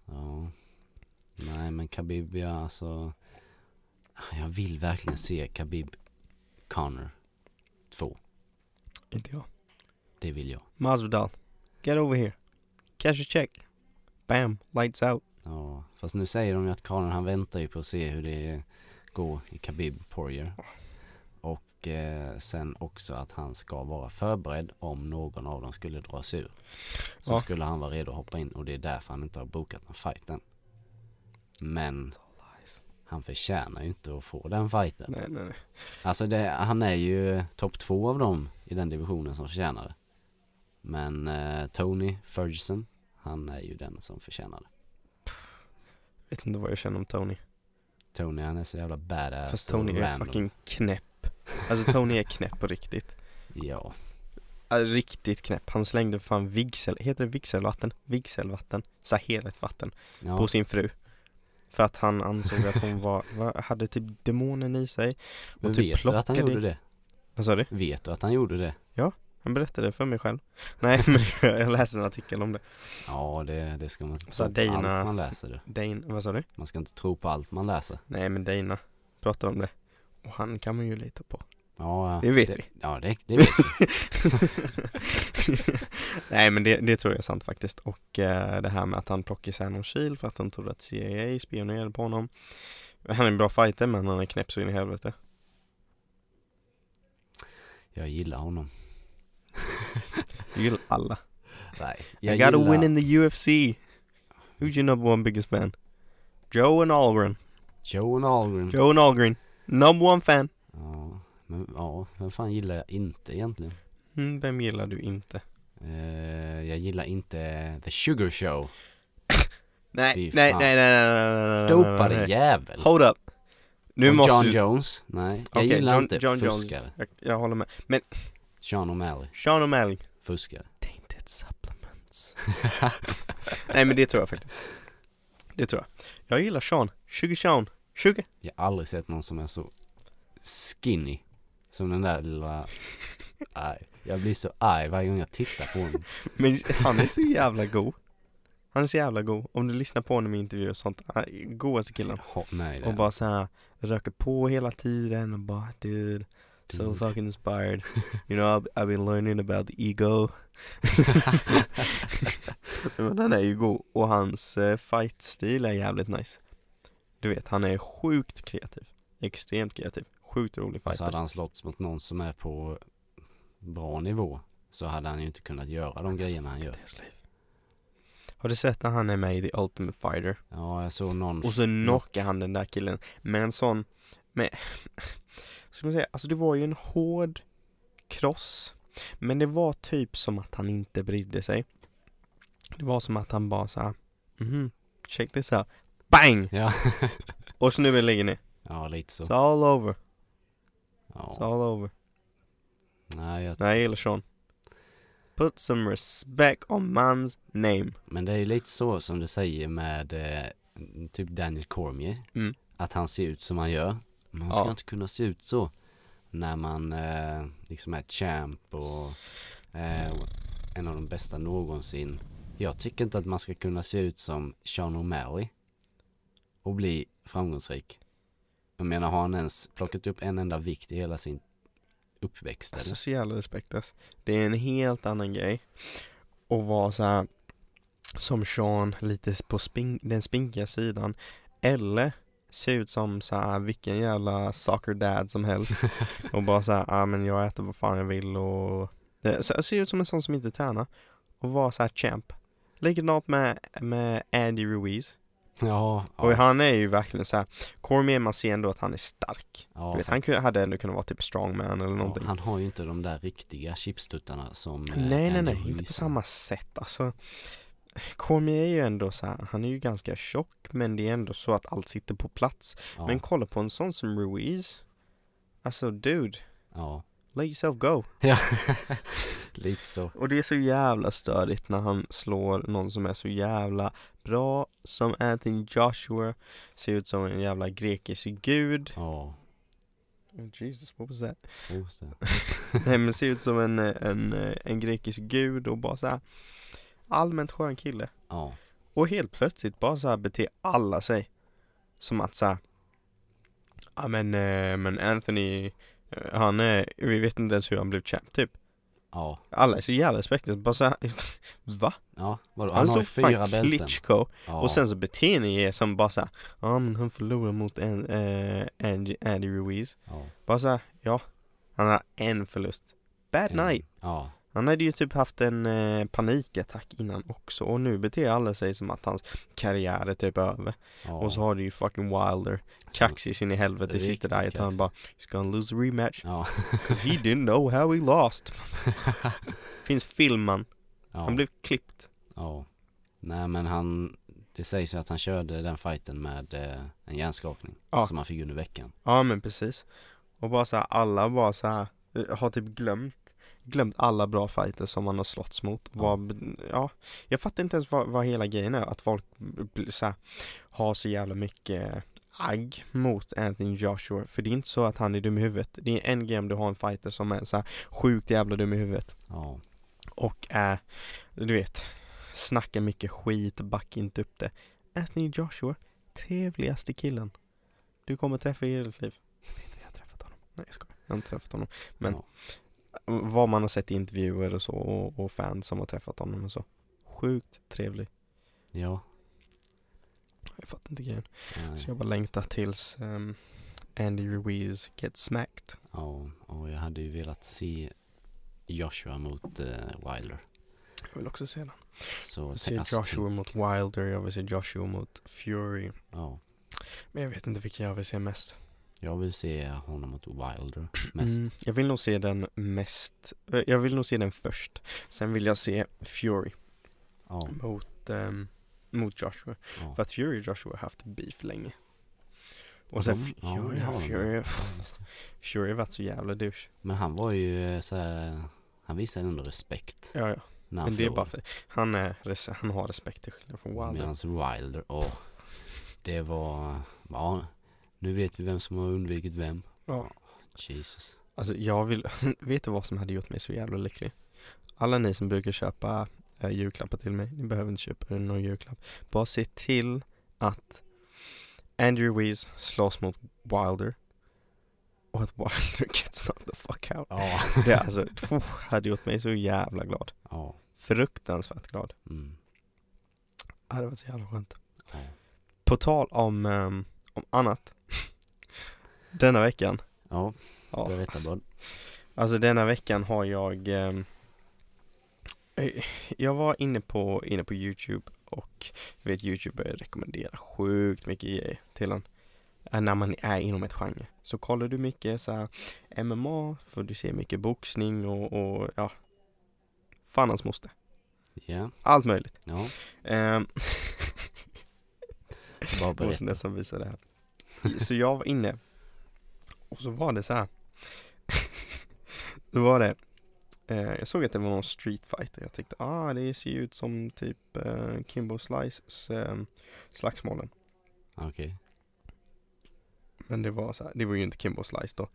[SPEAKER 3] Ja. Nej men Khabib, ja alltså. Jag vill verkligen se Khabib Connor 2.
[SPEAKER 2] Inte jag.
[SPEAKER 3] Det vill jag.
[SPEAKER 2] Masvidal, get over here. Cash a check. Bam, lights out.
[SPEAKER 3] Ja, fast nu säger de ju att Connor han väntar ju på att se hur det går i Khabib Poirier. Och eh, sen också att han ska vara förberedd om någon av dem skulle dra sig ur. Så
[SPEAKER 2] Ja.
[SPEAKER 3] skulle han vara redo att hoppa in och det är därför han inte har bokat någon fight än. Men han förtjänar ju inte att få den fighten.
[SPEAKER 2] Nej, nej, nej.
[SPEAKER 3] Alltså det, han är ju topp två av dem i den divisionen som förtjänar det. Men eh, Tony Ferguson, han är ju den som förtjänar det.
[SPEAKER 2] Vet inte vad jag känner om Tony.
[SPEAKER 3] Tony han är så jävla badass
[SPEAKER 2] Fast
[SPEAKER 3] och
[SPEAKER 2] Tony är
[SPEAKER 3] Alltså, random.
[SPEAKER 2] fucking knäpp. Alltså Tony är knäpp på riktigt.
[SPEAKER 3] Ja,
[SPEAKER 2] Ja, Riktigt knäpp. Han slängde fan vigsel, heter det vigselvatten? Vigselvatten. Så här heligt vatten.
[SPEAKER 3] ja.
[SPEAKER 2] På sin fru. För att han ansåg att hon var, var hade typ demonen i sig.
[SPEAKER 3] men
[SPEAKER 2] typ
[SPEAKER 3] vet du att han
[SPEAKER 2] plockade-
[SPEAKER 3] gjorde det?
[SPEAKER 2] Vad sa du?
[SPEAKER 3] Vet du att han gjorde det?
[SPEAKER 2] Han berättade det för mig själv. Nej men jag läste en artikel om det.
[SPEAKER 3] Ja, det, det ska man inte
[SPEAKER 2] Så
[SPEAKER 3] tro på
[SPEAKER 2] Dana-
[SPEAKER 3] allt man läser du.
[SPEAKER 2] Dane, vad sa du?
[SPEAKER 3] Man ska inte tro på allt man läser.
[SPEAKER 2] Nej men Dana pratade om det. Och han kan man ju lita på.
[SPEAKER 3] Ja,
[SPEAKER 2] Det vet vi.
[SPEAKER 3] Ja, det, det vet vi.
[SPEAKER 2] Nej men det, det tror jag är sant faktiskt och eh, det här med att han plockade isär någon kil för att han trodde att CIA spionerade på honom Han är en bra fighter men han är knäpp så in i helvete
[SPEAKER 3] Jag gillar honom.
[SPEAKER 2] Jag gillar alla
[SPEAKER 3] Nej,
[SPEAKER 2] I
[SPEAKER 3] jag
[SPEAKER 2] gotta
[SPEAKER 3] gillar...
[SPEAKER 2] win in the UFC Who's your number one biggest fan? Joe and Algren
[SPEAKER 3] Joan Algren.
[SPEAKER 2] Joe and Algren Number one fan
[SPEAKER 3] Ja, men ja, vem fan gillar jag inte egentligen?
[SPEAKER 2] mm, Vem gillar du inte?
[SPEAKER 3] Eh, jag gillar inte The Sugar Show. Fy
[SPEAKER 2] Nej, nej,
[SPEAKER 3] fan.
[SPEAKER 2] nej, nej, nej, nej, nej, nej,
[SPEAKER 3] Dopade
[SPEAKER 2] nej, nej.
[SPEAKER 3] jävel.
[SPEAKER 2] Hold up Nu
[SPEAKER 3] Och
[SPEAKER 2] måste
[SPEAKER 3] John
[SPEAKER 2] du,
[SPEAKER 3] Jones. Nej, jag
[SPEAKER 2] Okej,
[SPEAKER 3] gillar
[SPEAKER 2] John-
[SPEAKER 3] inte
[SPEAKER 2] John Jones.
[SPEAKER 3] fuskare.
[SPEAKER 2] jag, jag håller med
[SPEAKER 3] Sean O'Malley,
[SPEAKER 2] Sean O'Malley
[SPEAKER 3] fuskare.
[SPEAKER 2] Tainted supplements. Nej men det tror jag faktiskt. Det tror jag. Jag gillar Sean. 20 Sean. 20.
[SPEAKER 3] Jag har aldrig sett någon som är så skinny som den där lilla... Nej. Jag blir så arg varje gång jag tittar på honom.
[SPEAKER 2] Men han är så jävla god Han är så jävla god, om du lyssnar på honom i intervjuer och sånt, han är godaste killen
[SPEAKER 3] Jaha, nej, det
[SPEAKER 2] Och bara så här röker på hela tiden och bara dude So
[SPEAKER 3] Dude.
[SPEAKER 2] fucking inspired You know I've, I've been learning about the ego Men han är ju god och hans eh, fightstil är jävligt nice Du vet, han är sjukt kreativ Extremt kreativ, sjukt rolig
[SPEAKER 3] Alltså
[SPEAKER 2] fighter
[SPEAKER 3] hade han slåtts mot någon som är på bra nivå så hade han ju inte kunnat göra de grejerna han gör.
[SPEAKER 2] Har du sett när han är med i The Ultimate Fighter?
[SPEAKER 3] Ja, jag såg någon...
[SPEAKER 2] Och så knockar han den där killen med en sån, med, ska man säga, alltså det var ju en hård kross. Men det var typ som att han inte brydde sig. Det var som att han bara såhär, mhm, check this out. Bang!
[SPEAKER 3] Ja,
[SPEAKER 2] Och snubben ligger ner.
[SPEAKER 3] ja lite så.
[SPEAKER 2] It's all over, it's
[SPEAKER 3] Ja.
[SPEAKER 2] all over.
[SPEAKER 3] Nej, jag...
[SPEAKER 2] Nej, jag gillar Sean. Put some respect on man's name.
[SPEAKER 3] Men det är ju lite så som du säger med eh, typ Daniel Cormier.
[SPEAKER 2] Mm.
[SPEAKER 3] Att han ser ut som han gör. Men han
[SPEAKER 2] Ja.
[SPEAKER 3] ska inte kunna se ut så när man eh, liksom är champ och eh, en av de bästa någonsin. Jag tycker inte att man ska kunna se ut som Sean O'Malley och bli framgångsrik. Jag menar, har han ens plockat upp en enda vikt i hela sin uppväxt
[SPEAKER 2] Alltså
[SPEAKER 3] eller?
[SPEAKER 2] så jävla respekt alltså. Det är en helt annan grej att vara så här som Sean lite på spin- den spinkiga sidan eller se ut som så här vilken jävla soccer dad som helst och bara så här, ah, men jag äter vad fan jag vill och Eh, så, se ut som en sån som inte tränar och vara så här champ. Likadant med, med Andy Ruiz.
[SPEAKER 3] Ja,
[SPEAKER 2] Och
[SPEAKER 3] ja,
[SPEAKER 2] han är ju verkligen så här, Cormier man ser ändå att han är stark.
[SPEAKER 3] ja
[SPEAKER 2] du vet, han
[SPEAKER 3] faktiskt.
[SPEAKER 2] kunde, hade ändå kunnat vara typ strongman eller
[SPEAKER 3] Ja,
[SPEAKER 2] någonting.
[SPEAKER 3] han har ju inte de där riktiga chipstuttarna som eh,
[SPEAKER 2] Nej, nej,
[SPEAKER 3] Andy
[SPEAKER 2] nej, inte på
[SPEAKER 3] Ruiz
[SPEAKER 2] samma sätt. Alltså, Cormier är ju ändå så här, han är ju ganska tjock, men det är ändå så att allt sitter på plats.
[SPEAKER 3] Ja,
[SPEAKER 2] Men kolla på en sån som Ruiz. Alltså, dude,
[SPEAKER 3] ja.
[SPEAKER 2] let yourself go.
[SPEAKER 3] lite så.
[SPEAKER 2] Och det är så jävla störigt när han slår någon som är så jävla bra, som Anthony Joshua, ser ut som en jävla grekisk gud.
[SPEAKER 3] Ja,
[SPEAKER 2] Oh, Jesus, what was that?
[SPEAKER 3] just det.
[SPEAKER 2] Nej, men ser ut som en, eh, en, eh, en grekisk gud och bara så här allmänt skön kille.
[SPEAKER 3] Ja,
[SPEAKER 2] Och helt plötsligt bara så här beter alla sig Som att så här, Ja men, eh, men Anthony eh, Han är, vi vet inte ens hur han blev champ typ
[SPEAKER 3] ja,
[SPEAKER 2] Alla är så jävla respektlösa, bara så här, Va?
[SPEAKER 3] ja. Vadå?
[SPEAKER 2] Han,
[SPEAKER 3] Han, har ju
[SPEAKER 2] stod
[SPEAKER 3] fyra
[SPEAKER 2] fan
[SPEAKER 3] bälten.
[SPEAKER 2] Klitschko
[SPEAKER 3] Ja.
[SPEAKER 2] Och sen så beter ni er som bara så här, Ja men han förlorar mot en, eh, Andy, Andy Ruiz
[SPEAKER 3] ja.
[SPEAKER 2] Bara så här, ja Han har en förlust Bad
[SPEAKER 3] Mm.
[SPEAKER 2] night
[SPEAKER 3] Ja,
[SPEAKER 2] Han hade ju typ haft en eh, panikattack innan också Och nu beter alla sig som att hans karriär är typ över
[SPEAKER 3] ja.
[SPEAKER 2] Och så har du ju fucking Wilder,
[SPEAKER 3] Så-
[SPEAKER 2] kaxig sin i helvete, sitter
[SPEAKER 3] Riktigt
[SPEAKER 2] där i ett hörn
[SPEAKER 3] kaxig.
[SPEAKER 2] bara He's gonna lose a rematch,
[SPEAKER 3] Ja,
[SPEAKER 2] 'cause he didn't know how he lost Finns filmen,
[SPEAKER 3] ja.
[SPEAKER 2] han blev klippt
[SPEAKER 3] ja. Nej men han, det sägs ju att han körde den fighten med eh, en hjärnskakning.
[SPEAKER 2] Ja.
[SPEAKER 3] Som han fick under veckan.
[SPEAKER 2] Ja men precis Och bara så här, alla bara så här eh, har typ glömt Glömt alla bra fighter som man har slåtts mot
[SPEAKER 3] Ja.
[SPEAKER 2] ja. ja, jag fattar inte ens vad, vad hela grejen är Att folk b- b- så här, har så jävla mycket eh, agg mot Anthony Joshua För det är inte så att han är dum i huvudet Det är en grej om du har en fighter som är så här sjukt jävla dum i huvudet
[SPEAKER 3] Ja,
[SPEAKER 2] Och är, du vet, snackar mycket skit, backa inte upp det. Anthony Joshua, trevligaste killen du kommer träffa i ditt liv. Jag vet att jag har träffat honom. Nej jag skojar, jag har inte träffat honom. Men
[SPEAKER 3] Ja.
[SPEAKER 2] vad man har sett i intervjuer och så och, och fans som har träffat honom och så. Sjukt trevlig.
[SPEAKER 3] ja.
[SPEAKER 2] Jag fattar inte grejen.
[SPEAKER 3] Nej.
[SPEAKER 2] Så jag bara längtar tills ehm, Andy Ruiz gets smacked.
[SPEAKER 3] Ja, och jag hade ju velat se Joshua mot eh, Wilder.
[SPEAKER 2] Jag vill också se typ. den. Jag
[SPEAKER 3] Så,
[SPEAKER 2] vill se
[SPEAKER 3] alltså,
[SPEAKER 2] Joshua mot Wilder, jag vill se Joshua mot Fury.
[SPEAKER 3] Ja.
[SPEAKER 2] Men jag vet inte vilken jag vill se mest.
[SPEAKER 3] Jag vill se honom mot Wilder mest.
[SPEAKER 2] Mm, jag vill nog se den mest, eh, jag vill nog se den först. Sen vill jag se Fury
[SPEAKER 3] Ja,
[SPEAKER 2] mot, ehm, mot Joshua.
[SPEAKER 3] ja.
[SPEAKER 2] För att Fury och Joshua har haft beef länge.
[SPEAKER 3] Ja,
[SPEAKER 2] Och sen
[SPEAKER 3] de-
[SPEAKER 2] Fury,
[SPEAKER 3] ja, det har de.
[SPEAKER 2] Fury,
[SPEAKER 3] Ja, just det.
[SPEAKER 2] Fury har varit så jävla douche.
[SPEAKER 3] Men han var ju eh, så här, han visade ändå respekt
[SPEAKER 2] Ja, ja.
[SPEAKER 3] när han
[SPEAKER 2] Men det är bara
[SPEAKER 3] förlorade.
[SPEAKER 2] för, han, är, res- han har respekt till skillnad från Wilder.
[SPEAKER 3] Medans Wilder, åh. Det var, ja, nu vet vi vem som har undvikit vem.
[SPEAKER 2] Ja.
[SPEAKER 3] Jesus.
[SPEAKER 2] Alltså jag vill, vet du vad som hade gjort mig så jävla lycklig? Alla ni som brukar köpa eh, julklappar till mig, ni behöver inte köpa någon julklapp. Bara se till att Andrew Weeze slåss mot Wilder och att Wilder gets knocked the fuck out.
[SPEAKER 3] Ja.
[SPEAKER 2] Det alltså, pff, hade gjort mig så jävla glad.
[SPEAKER 3] Ja.
[SPEAKER 2] Fruktansvärt glad.
[SPEAKER 3] Mm.
[SPEAKER 2] Ja, Det var så jävla skönt.
[SPEAKER 3] ja.
[SPEAKER 2] På tal om, ehm, om annat. Denna veckan.
[SPEAKER 3] Ja,
[SPEAKER 2] Ja,
[SPEAKER 3] berätta bara.
[SPEAKER 2] Alltså denna veckan har jag ehm, eh, Jag var inne på, inne på Youtube och jag vet Youtube rekommenderar sjukt mycket grejer till en Eh, När man är inom ett genre Så kollar du mycket så här MMA för du ser mycket boxning och, och ja Fan hans moster,
[SPEAKER 3] Ja,
[SPEAKER 2] allt möjligt
[SPEAKER 3] ja.
[SPEAKER 2] Ehm, Jag
[SPEAKER 3] Bara
[SPEAKER 2] måste
[SPEAKER 3] berätta.
[SPEAKER 2] nästan visa det här. Så jag var inne och så var det så här. Då var det, eh, jag såg att det var någon street fighter. Jag tänkte, ah det ser ju ut som typ eh, Kimbo Slices eh, slagsmålen.
[SPEAKER 3] Okej.
[SPEAKER 2] Men det var så här, det var ju inte Kimbo Slice då.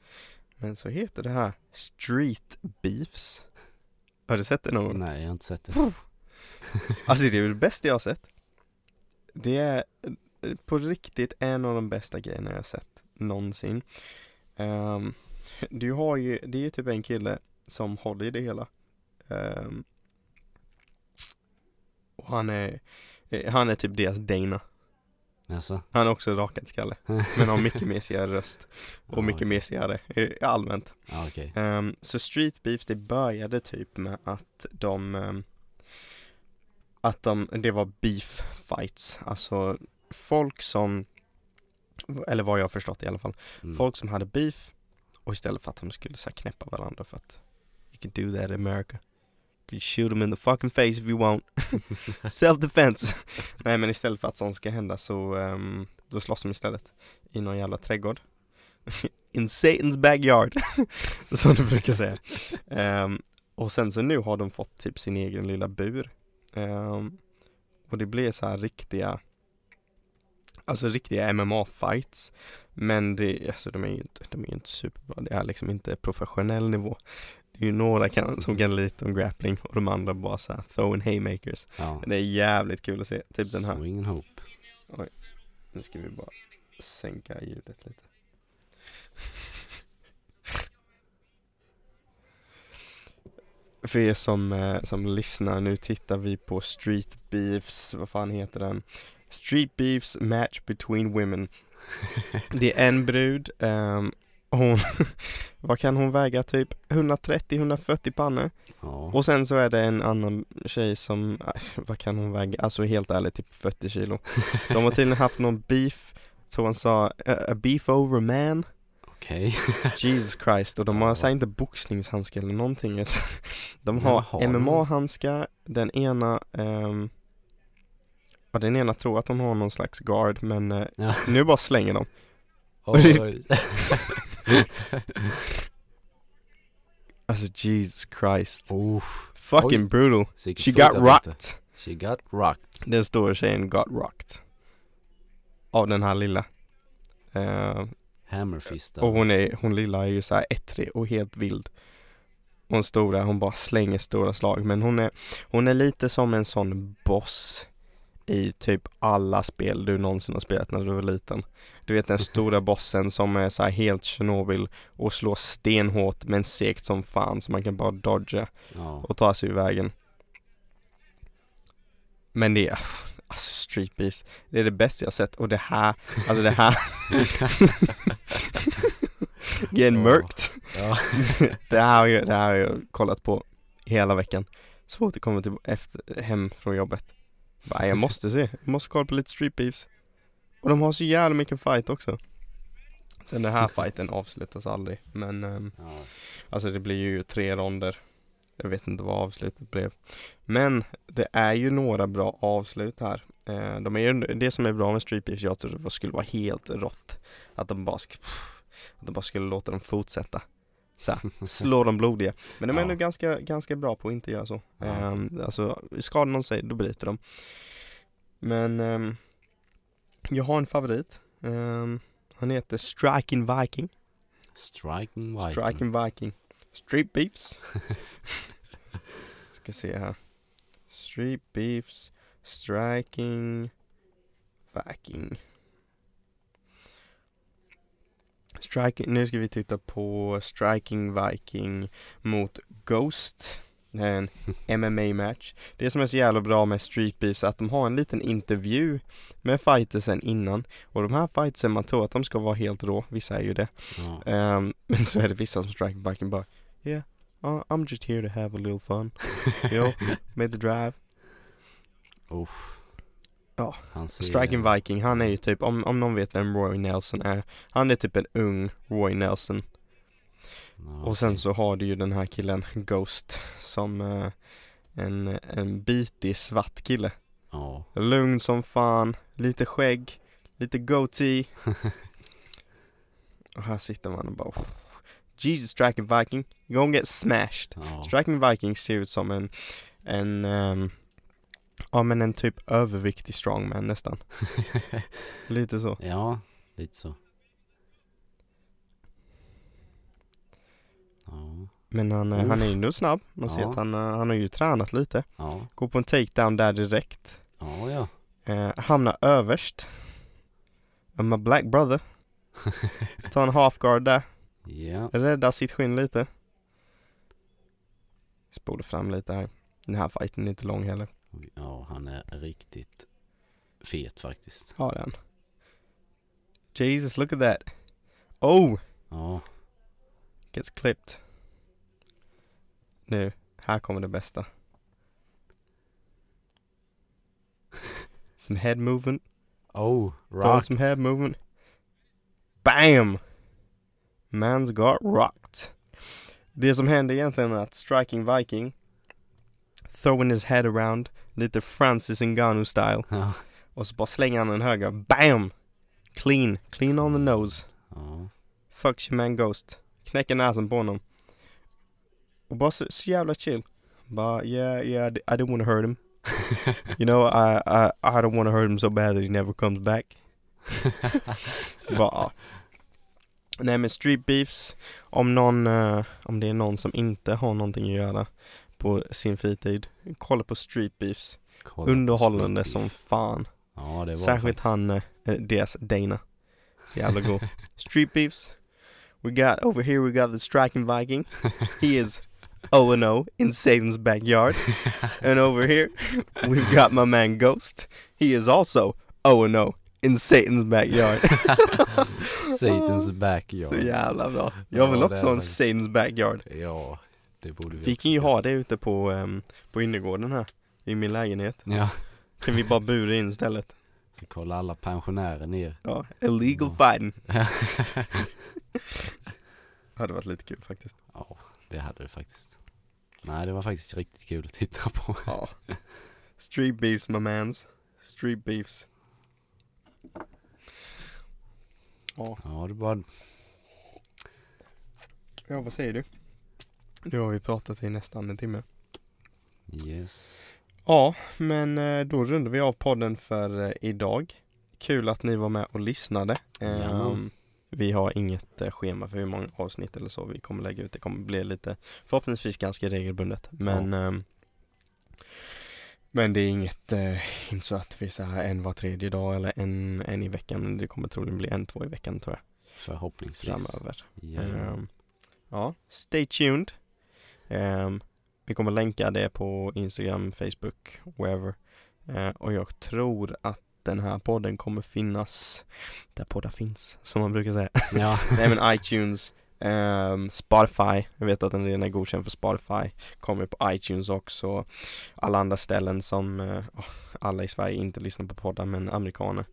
[SPEAKER 2] Men så heter det här Street Beefs. Har du sett det någon gång?
[SPEAKER 3] Nej, jag har inte sett det.
[SPEAKER 2] Alltså det är väl det bästa jag har sett. Det är eh, på riktigt en av de bästa grejerna jag har sett någonsin. Ehm, du har ju, det är ju typ en kille som håller i det hela. Ehm, och han är, eh, han är typ deras Dana.
[SPEAKER 3] Alltså.
[SPEAKER 2] Han är också rakad skalle. Men har mycket mesigare röst. Och
[SPEAKER 3] Ja,
[SPEAKER 2] mycket
[SPEAKER 3] okej.
[SPEAKER 2] mesigare eh, allmänt.
[SPEAKER 3] Ja, okej.
[SPEAKER 2] Ehm, så Street Beefs det började typ med att de ehm, Att de, det var beef fights, alltså folk som Eller vad jag har förstått i alla fall,
[SPEAKER 3] Mm.
[SPEAKER 2] folk som hade beef Och istället för att de skulle så här, knäppa varandra för att You can do that in America You can shoot them in the fucking face if you want Self defense Nej men istället för att sånt ska hända så ehm, Då slåss de istället I någon jävla trädgård In Satan's backyard Som de brukar säga Ehm, Och sen så nu har de fått typ sin egen lilla bur Ehm, Och det blir så här riktiga Alltså riktiga MMA-fights Men det, alltså de är ju inte, de är ju inte superbra Det är liksom inte professionell nivå Det är ju några kan, som kan lite om grappling och de andra bara så här throwing haymakers
[SPEAKER 3] Ja.
[SPEAKER 2] det är jävligt kul att se, typ den här
[SPEAKER 3] Swing and hope.
[SPEAKER 2] Nu ska vi bara sänka ljudet lite För er som, eh, som lyssnar, nu tittar vi på Street Beefs, vad fan heter den? Street Beefs Match Between Women Det är en brud, ehm, hon, vad kan hon väga, typ 130-140 pannor?
[SPEAKER 3] Ja.
[SPEAKER 2] Och sen så är det en annan tjej som, aj, vad kan hon väga, alltså helt ärligt typ 40 kilo De har tydligen haft någon beef, så hon sa "A- a beef over man,
[SPEAKER 3] Okej.
[SPEAKER 2] Jesus Christ och de har
[SPEAKER 3] Ja.
[SPEAKER 2] så här, inte boxningshandskar eller någonting utan De
[SPEAKER 3] Men
[SPEAKER 2] har,
[SPEAKER 3] har de?
[SPEAKER 2] MMA-handskar, den ena ehm, Ja den ena tror att de har någon slags guard men eh,
[SPEAKER 3] Ja.
[SPEAKER 2] nu bara slänger de
[SPEAKER 3] Oj.
[SPEAKER 2] Alltså Jesus Christ
[SPEAKER 3] Oh,
[SPEAKER 2] Fucking
[SPEAKER 3] Oj.
[SPEAKER 2] brutal
[SPEAKER 3] Vilket
[SPEAKER 2] She got
[SPEAKER 3] fotarbete.
[SPEAKER 2] rocked
[SPEAKER 3] She got rocked.
[SPEAKER 2] Den stora tjejen got rocked Av den här lilla Eh,
[SPEAKER 3] Hammerfista.
[SPEAKER 2] Och hon är, hon lilla är ju såhär ettrig och helt vild Hon stora, hon bara slänger stora slag men hon är Hon är lite som en sån boss I typ alla spel du någonsin har spelat när du var liten Du vet den stora bossen som är såhär helt Tjernobyl Och slår stenhårt men segt som fan så man kan bara dodga
[SPEAKER 3] Ja.
[SPEAKER 2] och ta sig ur vägen. Men det är, alltså Street Beefs, det är det bästa jag sett och det här, alltså det här Gen mörkt.
[SPEAKER 3] Ja.
[SPEAKER 2] Det här, har jag- det här har jag kollat på hela veckan. Så fort jag kommer till, efter, hem från jobbet. Bara, jag måste se, jag måste kolla på lite Street Beefs. Och de har så jävla mycket fight också. Sen den här fighten avslutas aldrig, men ehm,
[SPEAKER 3] ja.
[SPEAKER 2] Alltså det blir ju tre ronder. Jag vet inte vad avslutet blev. Men det är ju några bra avslut här. Eh, De är ju, det som är bra med Street Beefs, jag tror det skulle vara helt rått. Att de bara, sk- pff, att de bara skulle låta dem fortsätta. Så här, slå dem blodiga. Men de är
[SPEAKER 3] Ja.
[SPEAKER 2] nog ganska, ganska bra på att inte göra så.
[SPEAKER 3] Ja.
[SPEAKER 2] Ehm, Alltså skadar någon sig, då bryter de. Men ehm, jag har en favorit. Ehm, Han heter Striking Viking.
[SPEAKER 3] Striking White.
[SPEAKER 2] Striking Viking. Street Beefs. Ska se här. Street Beefs. Striking Viking. Striking, nu ska vi titta på Striking Viking mot Ghost. Det är en MMA-match. Det som är så jävla bra med Street Beefs är att de har en liten intervju med fightersen innan. Och de här fightersen, man tror att de ska vara helt rå, vissa är ju det.
[SPEAKER 3] Ja.
[SPEAKER 2] Ehm, men så är det vissa som strike back and bara Yeah, uh, I'm just here to have a little fun. Yo, made the drive.
[SPEAKER 3] Usch.
[SPEAKER 2] Ja,
[SPEAKER 3] Han ser,
[SPEAKER 2] Striking Viking, han är ju typ, om, om någon vet vem Roy Nelson är, han är typ en ung Roy Nelson.
[SPEAKER 3] Ja,
[SPEAKER 2] Och sen
[SPEAKER 3] okej.
[SPEAKER 2] så har du ju den här killen Ghost som eh, en, en bitig svart kille.
[SPEAKER 3] Ja.
[SPEAKER 2] Lugn som fan, lite skägg, lite goatee. och här sitter man och bara "Oh, Jesus Striking Viking, you're gonna get smashed.
[SPEAKER 3] ja.
[SPEAKER 2] Striking Vikings ser ut som en, en, ehm, ja men en typ överviktig strongman nästan. Lite så.
[SPEAKER 3] ja, lite så. Ja.
[SPEAKER 2] Men han, eh, han är ju ändå snabb. Man ser
[SPEAKER 3] Ja.
[SPEAKER 2] att han, eh, han har ju tränat lite.
[SPEAKER 3] Ja.
[SPEAKER 2] Går på en takedown där direkt.
[SPEAKER 3] Ja, ja.
[SPEAKER 2] Eh, hamnar överst. I'm a black brother. Tar en half guard där.
[SPEAKER 3] Ja.
[SPEAKER 2] Räddar sitt skinn lite. Spolar fram lite här. Den här fighten är inte lång heller.
[SPEAKER 3] Ja, han är riktigt fet faktiskt.
[SPEAKER 2] Har den. Jesus, look at that. Oh!
[SPEAKER 3] Ja.
[SPEAKER 2] Gets clipped. Nu, här kommer det bästa. Some head movement.
[SPEAKER 3] Oh,
[SPEAKER 2] Throw
[SPEAKER 3] rocked.
[SPEAKER 2] some head movement. Bam! Man's got rocked. Det som hände egentligen var att Striking Viking throwing his head around, lite Francis Ngannou style.
[SPEAKER 3] Ja.
[SPEAKER 2] Och så bara slänger han en höger. Bam! Clean. Clean on the nose.
[SPEAKER 3] Ja.
[SPEAKER 2] Fuck your man Ghost. Knäcker näsan på honom. Och bara så, så jävla chill. Bara yeah, yeah, I di- I didn't wanna hurt him. you know, I, I, I don't wanna hurt him so bad that he never comes back. så bara, ja. Nej men street beefs, om någon, eh, om det är någon som inte har någonting att göra på sin fritid, kolla på street beefs.
[SPEAKER 3] Kolla på
[SPEAKER 2] Underhållande
[SPEAKER 3] Snoopy.
[SPEAKER 2] som fan.
[SPEAKER 3] Ja, det var
[SPEAKER 2] Särskilt
[SPEAKER 3] faktiskt.
[SPEAKER 2] han, eh, deras Dana. Så jävla god. Street beefs. We got, over here we got the striking viking. He is 0-0 in Satan's backyard. and over here we've got my man Ghost. He is also 0-0 in Satan's backyard.
[SPEAKER 3] Satans backyard.
[SPEAKER 2] Så jävla bra. Jag vill
[SPEAKER 3] Ja, det
[SPEAKER 2] också
[SPEAKER 3] är
[SPEAKER 2] ha en
[SPEAKER 3] det.
[SPEAKER 2] Satan's backyard.
[SPEAKER 3] Ja, det borde vi
[SPEAKER 2] Vi
[SPEAKER 3] också
[SPEAKER 2] kan ju
[SPEAKER 3] skaffa.
[SPEAKER 2] ha det ute på, ehm, på innergården här. I min lägenhet.
[SPEAKER 3] Ja,
[SPEAKER 2] Kan vi bara bura in istället.
[SPEAKER 3] så kollar alla pensionärer ner.
[SPEAKER 2] Ja, illegal fighting. Hade varit lite kul faktiskt.
[SPEAKER 3] Ja, det hade det faktiskt. Nej, det var faktiskt riktigt kul att titta på.
[SPEAKER 2] Ja. Street beefs my mans. Street beefs. Ja,
[SPEAKER 3] Ja, det var...
[SPEAKER 2] ja vad säger du? Nu har vi pratat i nästan en timme.
[SPEAKER 3] Yes.
[SPEAKER 2] Ja, men eh, då rundar vi av podden för eh, idag. Kul att ni var med och lyssnade. Ehm,
[SPEAKER 3] Jajamän.
[SPEAKER 2] vi har inget eh, schema för hur många avsnitt eller så vi kommer lägga ut. Det kommer bli lite förhoppningsvis ganska regelbundet. Men, ehm, men det är inget, eh, inte så att vi så här en var tredje dag eller en, en i veckan. Men det kommer troligen bli en, två i veckan tror jag.
[SPEAKER 3] Förhoppningsvis.
[SPEAKER 2] Framöver.
[SPEAKER 3] Ja.
[SPEAKER 2] Ehm, ja, stay tuned. Ehm, vi kommer länka det på Instagram, Facebook, wherever. Eh, och jag tror att den här podden kommer finnas där poddar finns, som man brukar säga.
[SPEAKER 3] ja.
[SPEAKER 2] Nej men iTunes, ehm, Spotify. Jag vet att den redan är godkänd för Spotify. Kommer på iTunes också. Alla andra ställen som eh, åh, alla i Sverige inte lyssnar på poddar, men amerikaner.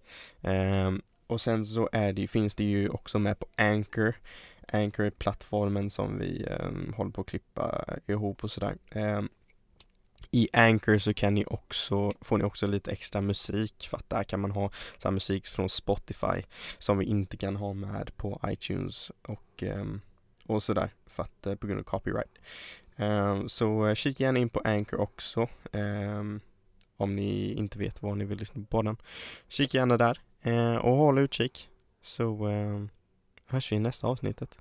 [SPEAKER 2] Ehm, och sen så är det, ju- finns det ju också med på Anchor. Anchor är plattformen som vi ehm, håller på att klippa ihop och sådär. Ehm, i Anchor så kan ni också, får ni också lite extra musik för att där kan man ha så här musik från Spotify som vi inte kan ha med på iTunes och, ehm, och sådär för att eh, på grund av copyright. Ehm, så eh, kika gärna in på Anchor också ehm, om ni inte vet var ni vill lyssna på den. Kika gärna där eh, och håll utkik så ehm, hörs vi i nästa avsnittet.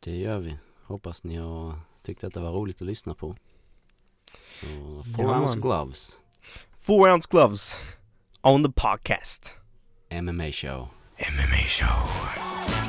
[SPEAKER 3] Det gör vi. Hoppas ni har tyckt att det var roligt att lyssna på. Så, four
[SPEAKER 2] Ja,
[SPEAKER 3] ounce
[SPEAKER 2] man.
[SPEAKER 3] gloves.
[SPEAKER 2] Four ounce gloves on the podcast.
[SPEAKER 3] MMA show.
[SPEAKER 2] MMA show.
[SPEAKER 1] Bye.